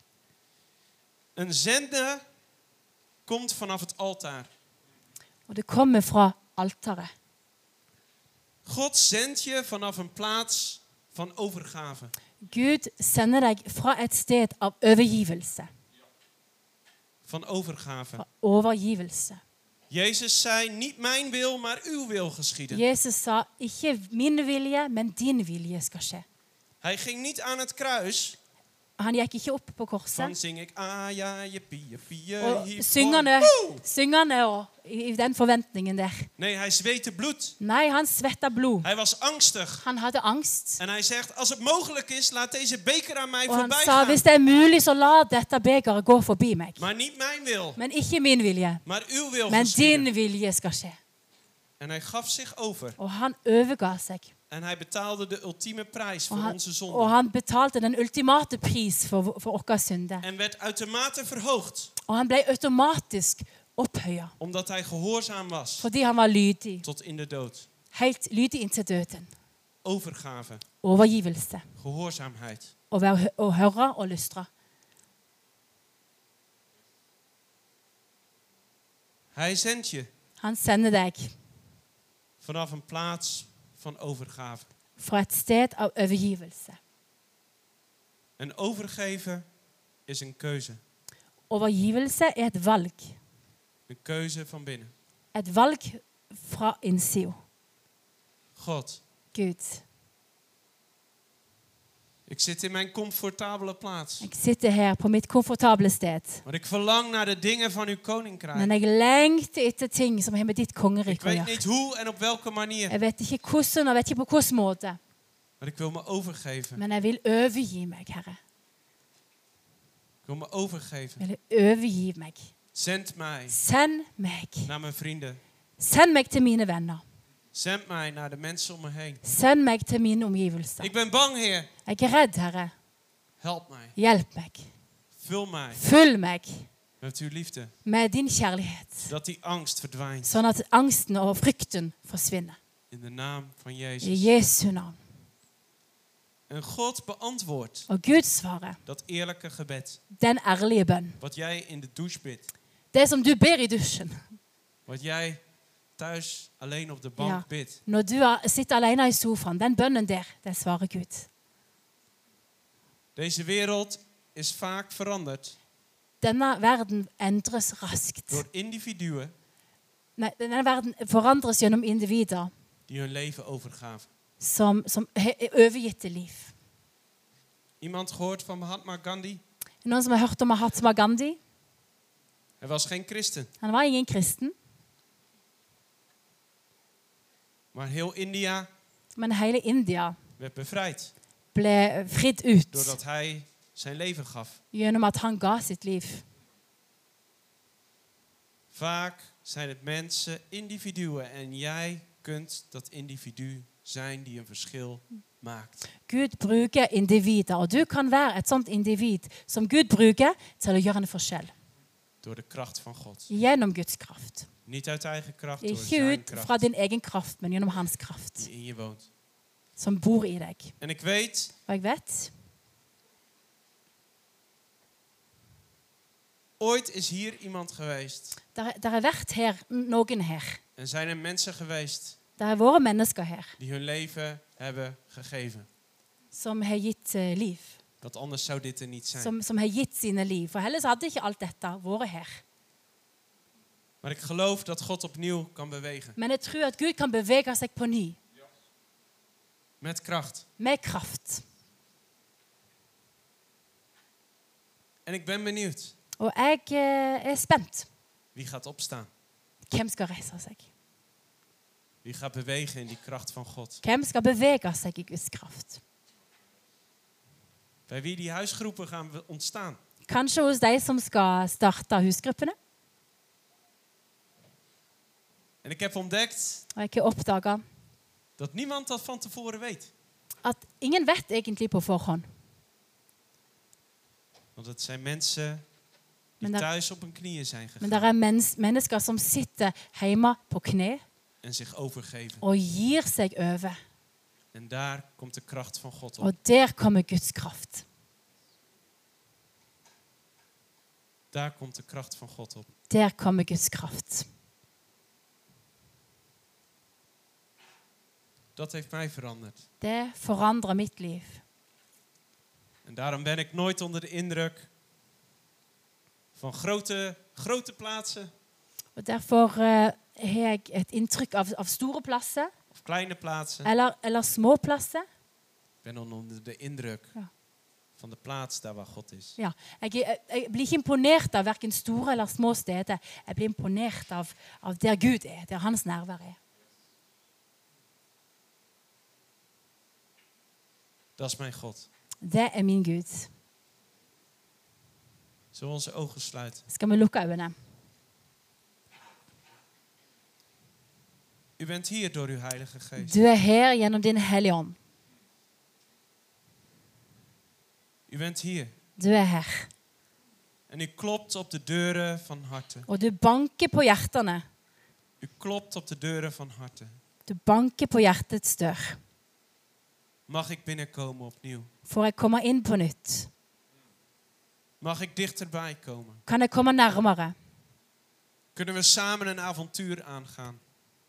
[SPEAKER 3] Een zender komt vanaf het altaar.
[SPEAKER 1] Og det kommer fra alteret.
[SPEAKER 3] God zendt je vanaf een plaats van overgave.
[SPEAKER 1] Gud sender deg fra et sted av overgivelse.
[SPEAKER 3] Van overgave.
[SPEAKER 1] Fra overgivelse.
[SPEAKER 3] Jezus zei, niet mijn wil, maar uw wil geschieden.
[SPEAKER 1] Jesus sa 'ikke min vilje, men din vilje skal skje'.
[SPEAKER 3] Hij ging niet aan het kruis
[SPEAKER 1] Han gikk ikke opp på
[SPEAKER 3] van
[SPEAKER 1] korset.
[SPEAKER 3] zing ik, ah ja, je pie, pie,
[SPEAKER 1] Og
[SPEAKER 3] hier,
[SPEAKER 1] syngende,
[SPEAKER 3] woe.
[SPEAKER 1] syngende og i i den forventningen der.
[SPEAKER 3] Nee, hij zweette bloed.
[SPEAKER 1] Nei, han svetta blod.
[SPEAKER 3] Hij was angstig.
[SPEAKER 1] Han hadde angst.
[SPEAKER 3] En hij zegt, als het mogelijk is, laat deze beker aan mij
[SPEAKER 1] Og han
[SPEAKER 3] voorbij
[SPEAKER 1] sa
[SPEAKER 3] gaan.
[SPEAKER 1] hvis det er mulig, så la dette begeret gå forbi meg.
[SPEAKER 3] Maar niet mijn wil,
[SPEAKER 1] Men ikke min vilje,
[SPEAKER 3] maar uw wil
[SPEAKER 1] men din
[SPEAKER 3] geschieden.
[SPEAKER 1] vilje skal skje.
[SPEAKER 3] En hij gaf zich over.
[SPEAKER 1] Og han overga seg.
[SPEAKER 3] En hij betaalde de ultieme prijs
[SPEAKER 1] Og
[SPEAKER 3] voor
[SPEAKER 1] han,
[SPEAKER 3] onze
[SPEAKER 1] og
[SPEAKER 3] zonde.
[SPEAKER 1] han betalte den ultimate pris for, for våre synder.
[SPEAKER 3] En werd uitermate verhoogd,
[SPEAKER 1] Og han ble automatisk opphøya
[SPEAKER 3] omdat hij gehoorzaam was.
[SPEAKER 1] fordi han var lydig.
[SPEAKER 3] Tot in de dood.
[SPEAKER 1] Helt lydig inntil døden.
[SPEAKER 3] Overgave,
[SPEAKER 1] Overgivelse.
[SPEAKER 3] gehoorzaamheid.
[SPEAKER 1] Å, være, å høre og lystre.
[SPEAKER 3] Hij zendt je
[SPEAKER 1] Han sender deg
[SPEAKER 3] vanaf een plaats van overgave.
[SPEAKER 1] fra et sted av overgivelse.
[SPEAKER 3] En overgeven is een keuze.
[SPEAKER 1] Overgivelse er et valg.
[SPEAKER 3] Een keuze van binnen.
[SPEAKER 1] Et valg fra innsida.
[SPEAKER 3] God,
[SPEAKER 1] Gud,
[SPEAKER 3] ik zit in mijn comfortabele plaats.
[SPEAKER 1] jeg sitter her på mitt komfortable sted,
[SPEAKER 3] Maar ik verlang naar de dingen van uw
[SPEAKER 1] men
[SPEAKER 3] koninkrijk.
[SPEAKER 1] jeg lengter etter ting som har med ditt
[SPEAKER 3] Ik
[SPEAKER 1] kongerike å
[SPEAKER 3] weet
[SPEAKER 1] gjøre.
[SPEAKER 3] niet hoe en op welke manier.
[SPEAKER 1] Jeg vet ikke hvordan, og jeg vet ikke på hvilken måte,
[SPEAKER 3] Maar ik wil me overgeven.
[SPEAKER 1] men jeg vil overgi meg, Herre.
[SPEAKER 3] Ik wil me overgeven.
[SPEAKER 1] Jeg vil overgi meg.
[SPEAKER 3] Zend mij
[SPEAKER 1] Send meg.
[SPEAKER 3] naar mijn vrienden.
[SPEAKER 1] Send meg til mine venner.
[SPEAKER 3] Zend mij naar de mensen om me heen.
[SPEAKER 1] Send meg til mine omgivelser.
[SPEAKER 3] Ik ben bang, Heer.
[SPEAKER 1] Jeg er redd, Herre.
[SPEAKER 3] Help mij.
[SPEAKER 1] Hjelp meg.
[SPEAKER 3] Vul mij
[SPEAKER 1] Fyll meg
[SPEAKER 3] met uw liefde.
[SPEAKER 1] med din kjærlighet,
[SPEAKER 3] Dat die angst verdwijnt.
[SPEAKER 1] sånn at angsten og frykten forsvinner.
[SPEAKER 3] In de naam van
[SPEAKER 1] I
[SPEAKER 3] Jezus.
[SPEAKER 1] Jesu navn.
[SPEAKER 3] En God beantwoordt
[SPEAKER 1] Og Gud svarer
[SPEAKER 3] dat eerlijke gebed.
[SPEAKER 1] den ærlige bønn.
[SPEAKER 3] Wat jij in de douche bidt.
[SPEAKER 1] Det som du ber i dusjen
[SPEAKER 3] Wat jij thuis alleen op de bank
[SPEAKER 1] Ja.
[SPEAKER 3] bidt.
[SPEAKER 1] når du er- sitter alene i sofaen, den bønnen der, den svarer Gud.
[SPEAKER 3] Deze wereld is vaak veranderd
[SPEAKER 1] Denne verden endres raskt.
[SPEAKER 3] door individuen
[SPEAKER 1] Nei, denne verden forandres gjennom individer
[SPEAKER 3] die hun leven overgaven.
[SPEAKER 1] som, som he- er overgitte liv.
[SPEAKER 3] Iemand gehoord van Mahatma Gandhi?
[SPEAKER 1] Noen som har hørt om Mahatma Gandhi?
[SPEAKER 3] Hij was geen christen,
[SPEAKER 1] Han var ingen kristen,
[SPEAKER 3] maar heel India
[SPEAKER 1] men hele India
[SPEAKER 3] werd bevrijd
[SPEAKER 1] ble fridd ut
[SPEAKER 3] doordat hij zijn leven gaf.
[SPEAKER 1] gjennom at han ga sitt liv.
[SPEAKER 3] Vaak zijn het mensen individuen en jij kunt dat individu zijn die een verschil maakt.
[SPEAKER 1] Gud bruker individer, og du kan være et sånt individ som Gud bruker til å gjøre en forskjell.
[SPEAKER 3] Door de kracht van God.
[SPEAKER 1] Gjennom Guds kraft.
[SPEAKER 3] Niet uit eigen kracht, door
[SPEAKER 1] Ikke
[SPEAKER 3] zijn
[SPEAKER 1] ut fra
[SPEAKER 3] kracht
[SPEAKER 1] din egen kraft, men gjennom hans kraft.
[SPEAKER 3] die in je woont.
[SPEAKER 1] som bor i deg.
[SPEAKER 3] En ik weet
[SPEAKER 1] Og jeg vet
[SPEAKER 3] Ooit is hier iemand geweest.
[SPEAKER 1] der, der har vært her, noen her.
[SPEAKER 3] En zijn er mensen geweest
[SPEAKER 1] Der har vært mennesker her
[SPEAKER 3] die hun leven hebben gegeven.
[SPEAKER 1] som har gitt eh, liv.
[SPEAKER 3] Want anders zou dit er niet zijn.
[SPEAKER 1] Som, som har gitt sine liv. For ellers hadde ikke alt dette vært her.
[SPEAKER 3] Maar ik geloof dat God opnieuw kan bewegen.
[SPEAKER 1] Men jeg tror at Gud kan bevege seg på ny,
[SPEAKER 3] Met kracht.
[SPEAKER 1] med kraft.
[SPEAKER 3] En ik ben benieuwd
[SPEAKER 1] Og jeg eh, er spent.
[SPEAKER 3] wie gaat opstaan.
[SPEAKER 1] Hvem skal reise seg?
[SPEAKER 3] Wie gaat bewegen in die kracht van God.
[SPEAKER 1] Hvem skal bevege seg i Guds kraft?
[SPEAKER 3] Bij wie die huisgroepen gaan we- ontstaan.
[SPEAKER 1] Kanskje hos de som skal starte husgruppene.
[SPEAKER 3] En ik heb ontdekt
[SPEAKER 1] Og jeg har oppdaga
[SPEAKER 3] dat niemand dat van tevoren weet.
[SPEAKER 1] at ingen vet egentlig på forhånd.
[SPEAKER 3] Want het zijn mensen die
[SPEAKER 1] Maar dat-
[SPEAKER 3] thuis op hun knieën zijn
[SPEAKER 1] Men det
[SPEAKER 3] gegaan.
[SPEAKER 1] er mens, mennesker som sitter hjemme på kne
[SPEAKER 3] En zich overgeven.
[SPEAKER 1] og gir seg over.
[SPEAKER 3] En daar komt de kracht van God op.
[SPEAKER 1] Og der kommer Guds kraft.
[SPEAKER 3] Daar komt de kracht van God op.
[SPEAKER 1] Der kommer Guds kraft.
[SPEAKER 3] Dat heeft mij veranderd.
[SPEAKER 1] Det forandrer mitt liv.
[SPEAKER 3] En daarom ben ik nooit onder de indruk van grote, grote plaatsen
[SPEAKER 1] Og Derfor eh, har jeg et inntrykk av, av store plasser
[SPEAKER 3] of kleine plaatsen.
[SPEAKER 1] eller, eller små plasser.
[SPEAKER 3] Ik ben dan onder de indruk
[SPEAKER 1] Ja.
[SPEAKER 3] van de plaats daar waar God is.
[SPEAKER 1] Ja, jeg, er- jeg blir ikke imponert av verken store eller små steder. Jeg blir imponert av, av der Gud er, der hans nærvær er.
[SPEAKER 3] Dat is mijn God.
[SPEAKER 1] Det er min Gud.
[SPEAKER 3] Zullen we onze ogen sluiten?
[SPEAKER 1] Skal vi lukke øynene?
[SPEAKER 3] U bent hier door uw Heilige Geest.
[SPEAKER 1] Du er her gjennom din hellige ånd.
[SPEAKER 3] U bent hier
[SPEAKER 1] Du er her.
[SPEAKER 3] en u klopt op de deuren van harten.
[SPEAKER 1] Og du banker på hjertene.
[SPEAKER 3] U klopt op de deuren van harten.
[SPEAKER 1] Du banker på hjertets dør.
[SPEAKER 3] Mag ik binnenkomen opnieuw?
[SPEAKER 1] Får jeg komme inn på nytt?
[SPEAKER 3] Mag ik dichterbij komen?
[SPEAKER 1] Kan jeg komme nærmere?
[SPEAKER 3] Kunnen we samen een avontuur aangaan?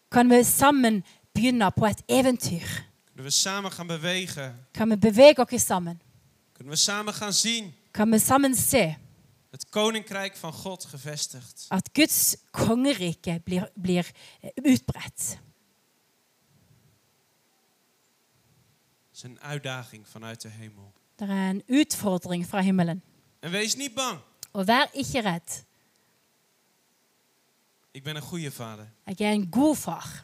[SPEAKER 1] Kan vi sammen begynne på et eventyr?
[SPEAKER 3] Kunnen we samen gaan bewegen?
[SPEAKER 1] Kan vi bevege oss sammen?
[SPEAKER 3] Kunnen we samen gaan zien?
[SPEAKER 1] Kan vi sammen se
[SPEAKER 3] Het koninkrijk van God gevestigd.
[SPEAKER 1] at Guds kongerike blir, blir eh, utbredt?
[SPEAKER 3] Het is een uitdaging vanuit de hemel.
[SPEAKER 1] Det er en utfordring fra himmelen.
[SPEAKER 3] En wees niet bang.
[SPEAKER 1] Og vær ikke redd.
[SPEAKER 3] Ik ben een goede vader.
[SPEAKER 1] Jeg er en god far.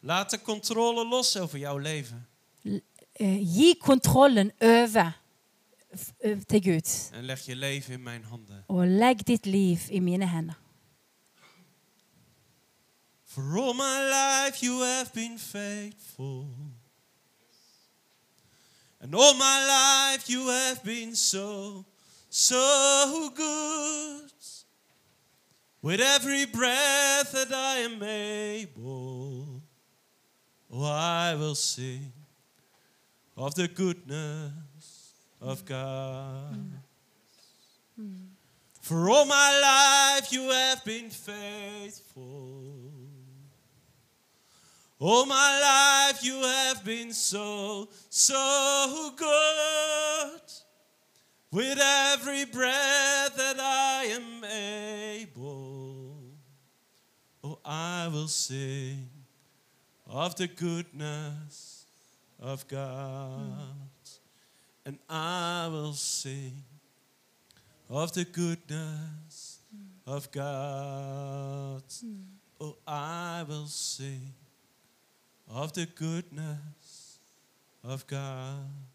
[SPEAKER 3] Laat de controle los over jouw leven.
[SPEAKER 1] Eh, Gi kontrollen over f- eh, til Gud.
[SPEAKER 3] En leg je leven in mijn handen.
[SPEAKER 1] Og legg ditt liv i mine hender.
[SPEAKER 3] For all my life you have been faithful. And all my life you have been so, so good. With every breath that I am able, oh, I will sing of the goodness of God. For all my life you have been faithful. All Oh, my life you have been so, so good. With every breath that I am able, oh, I will sing of the goodness of God. And I will sing of the goodness of God. Oh, I will sing of the goodness of God.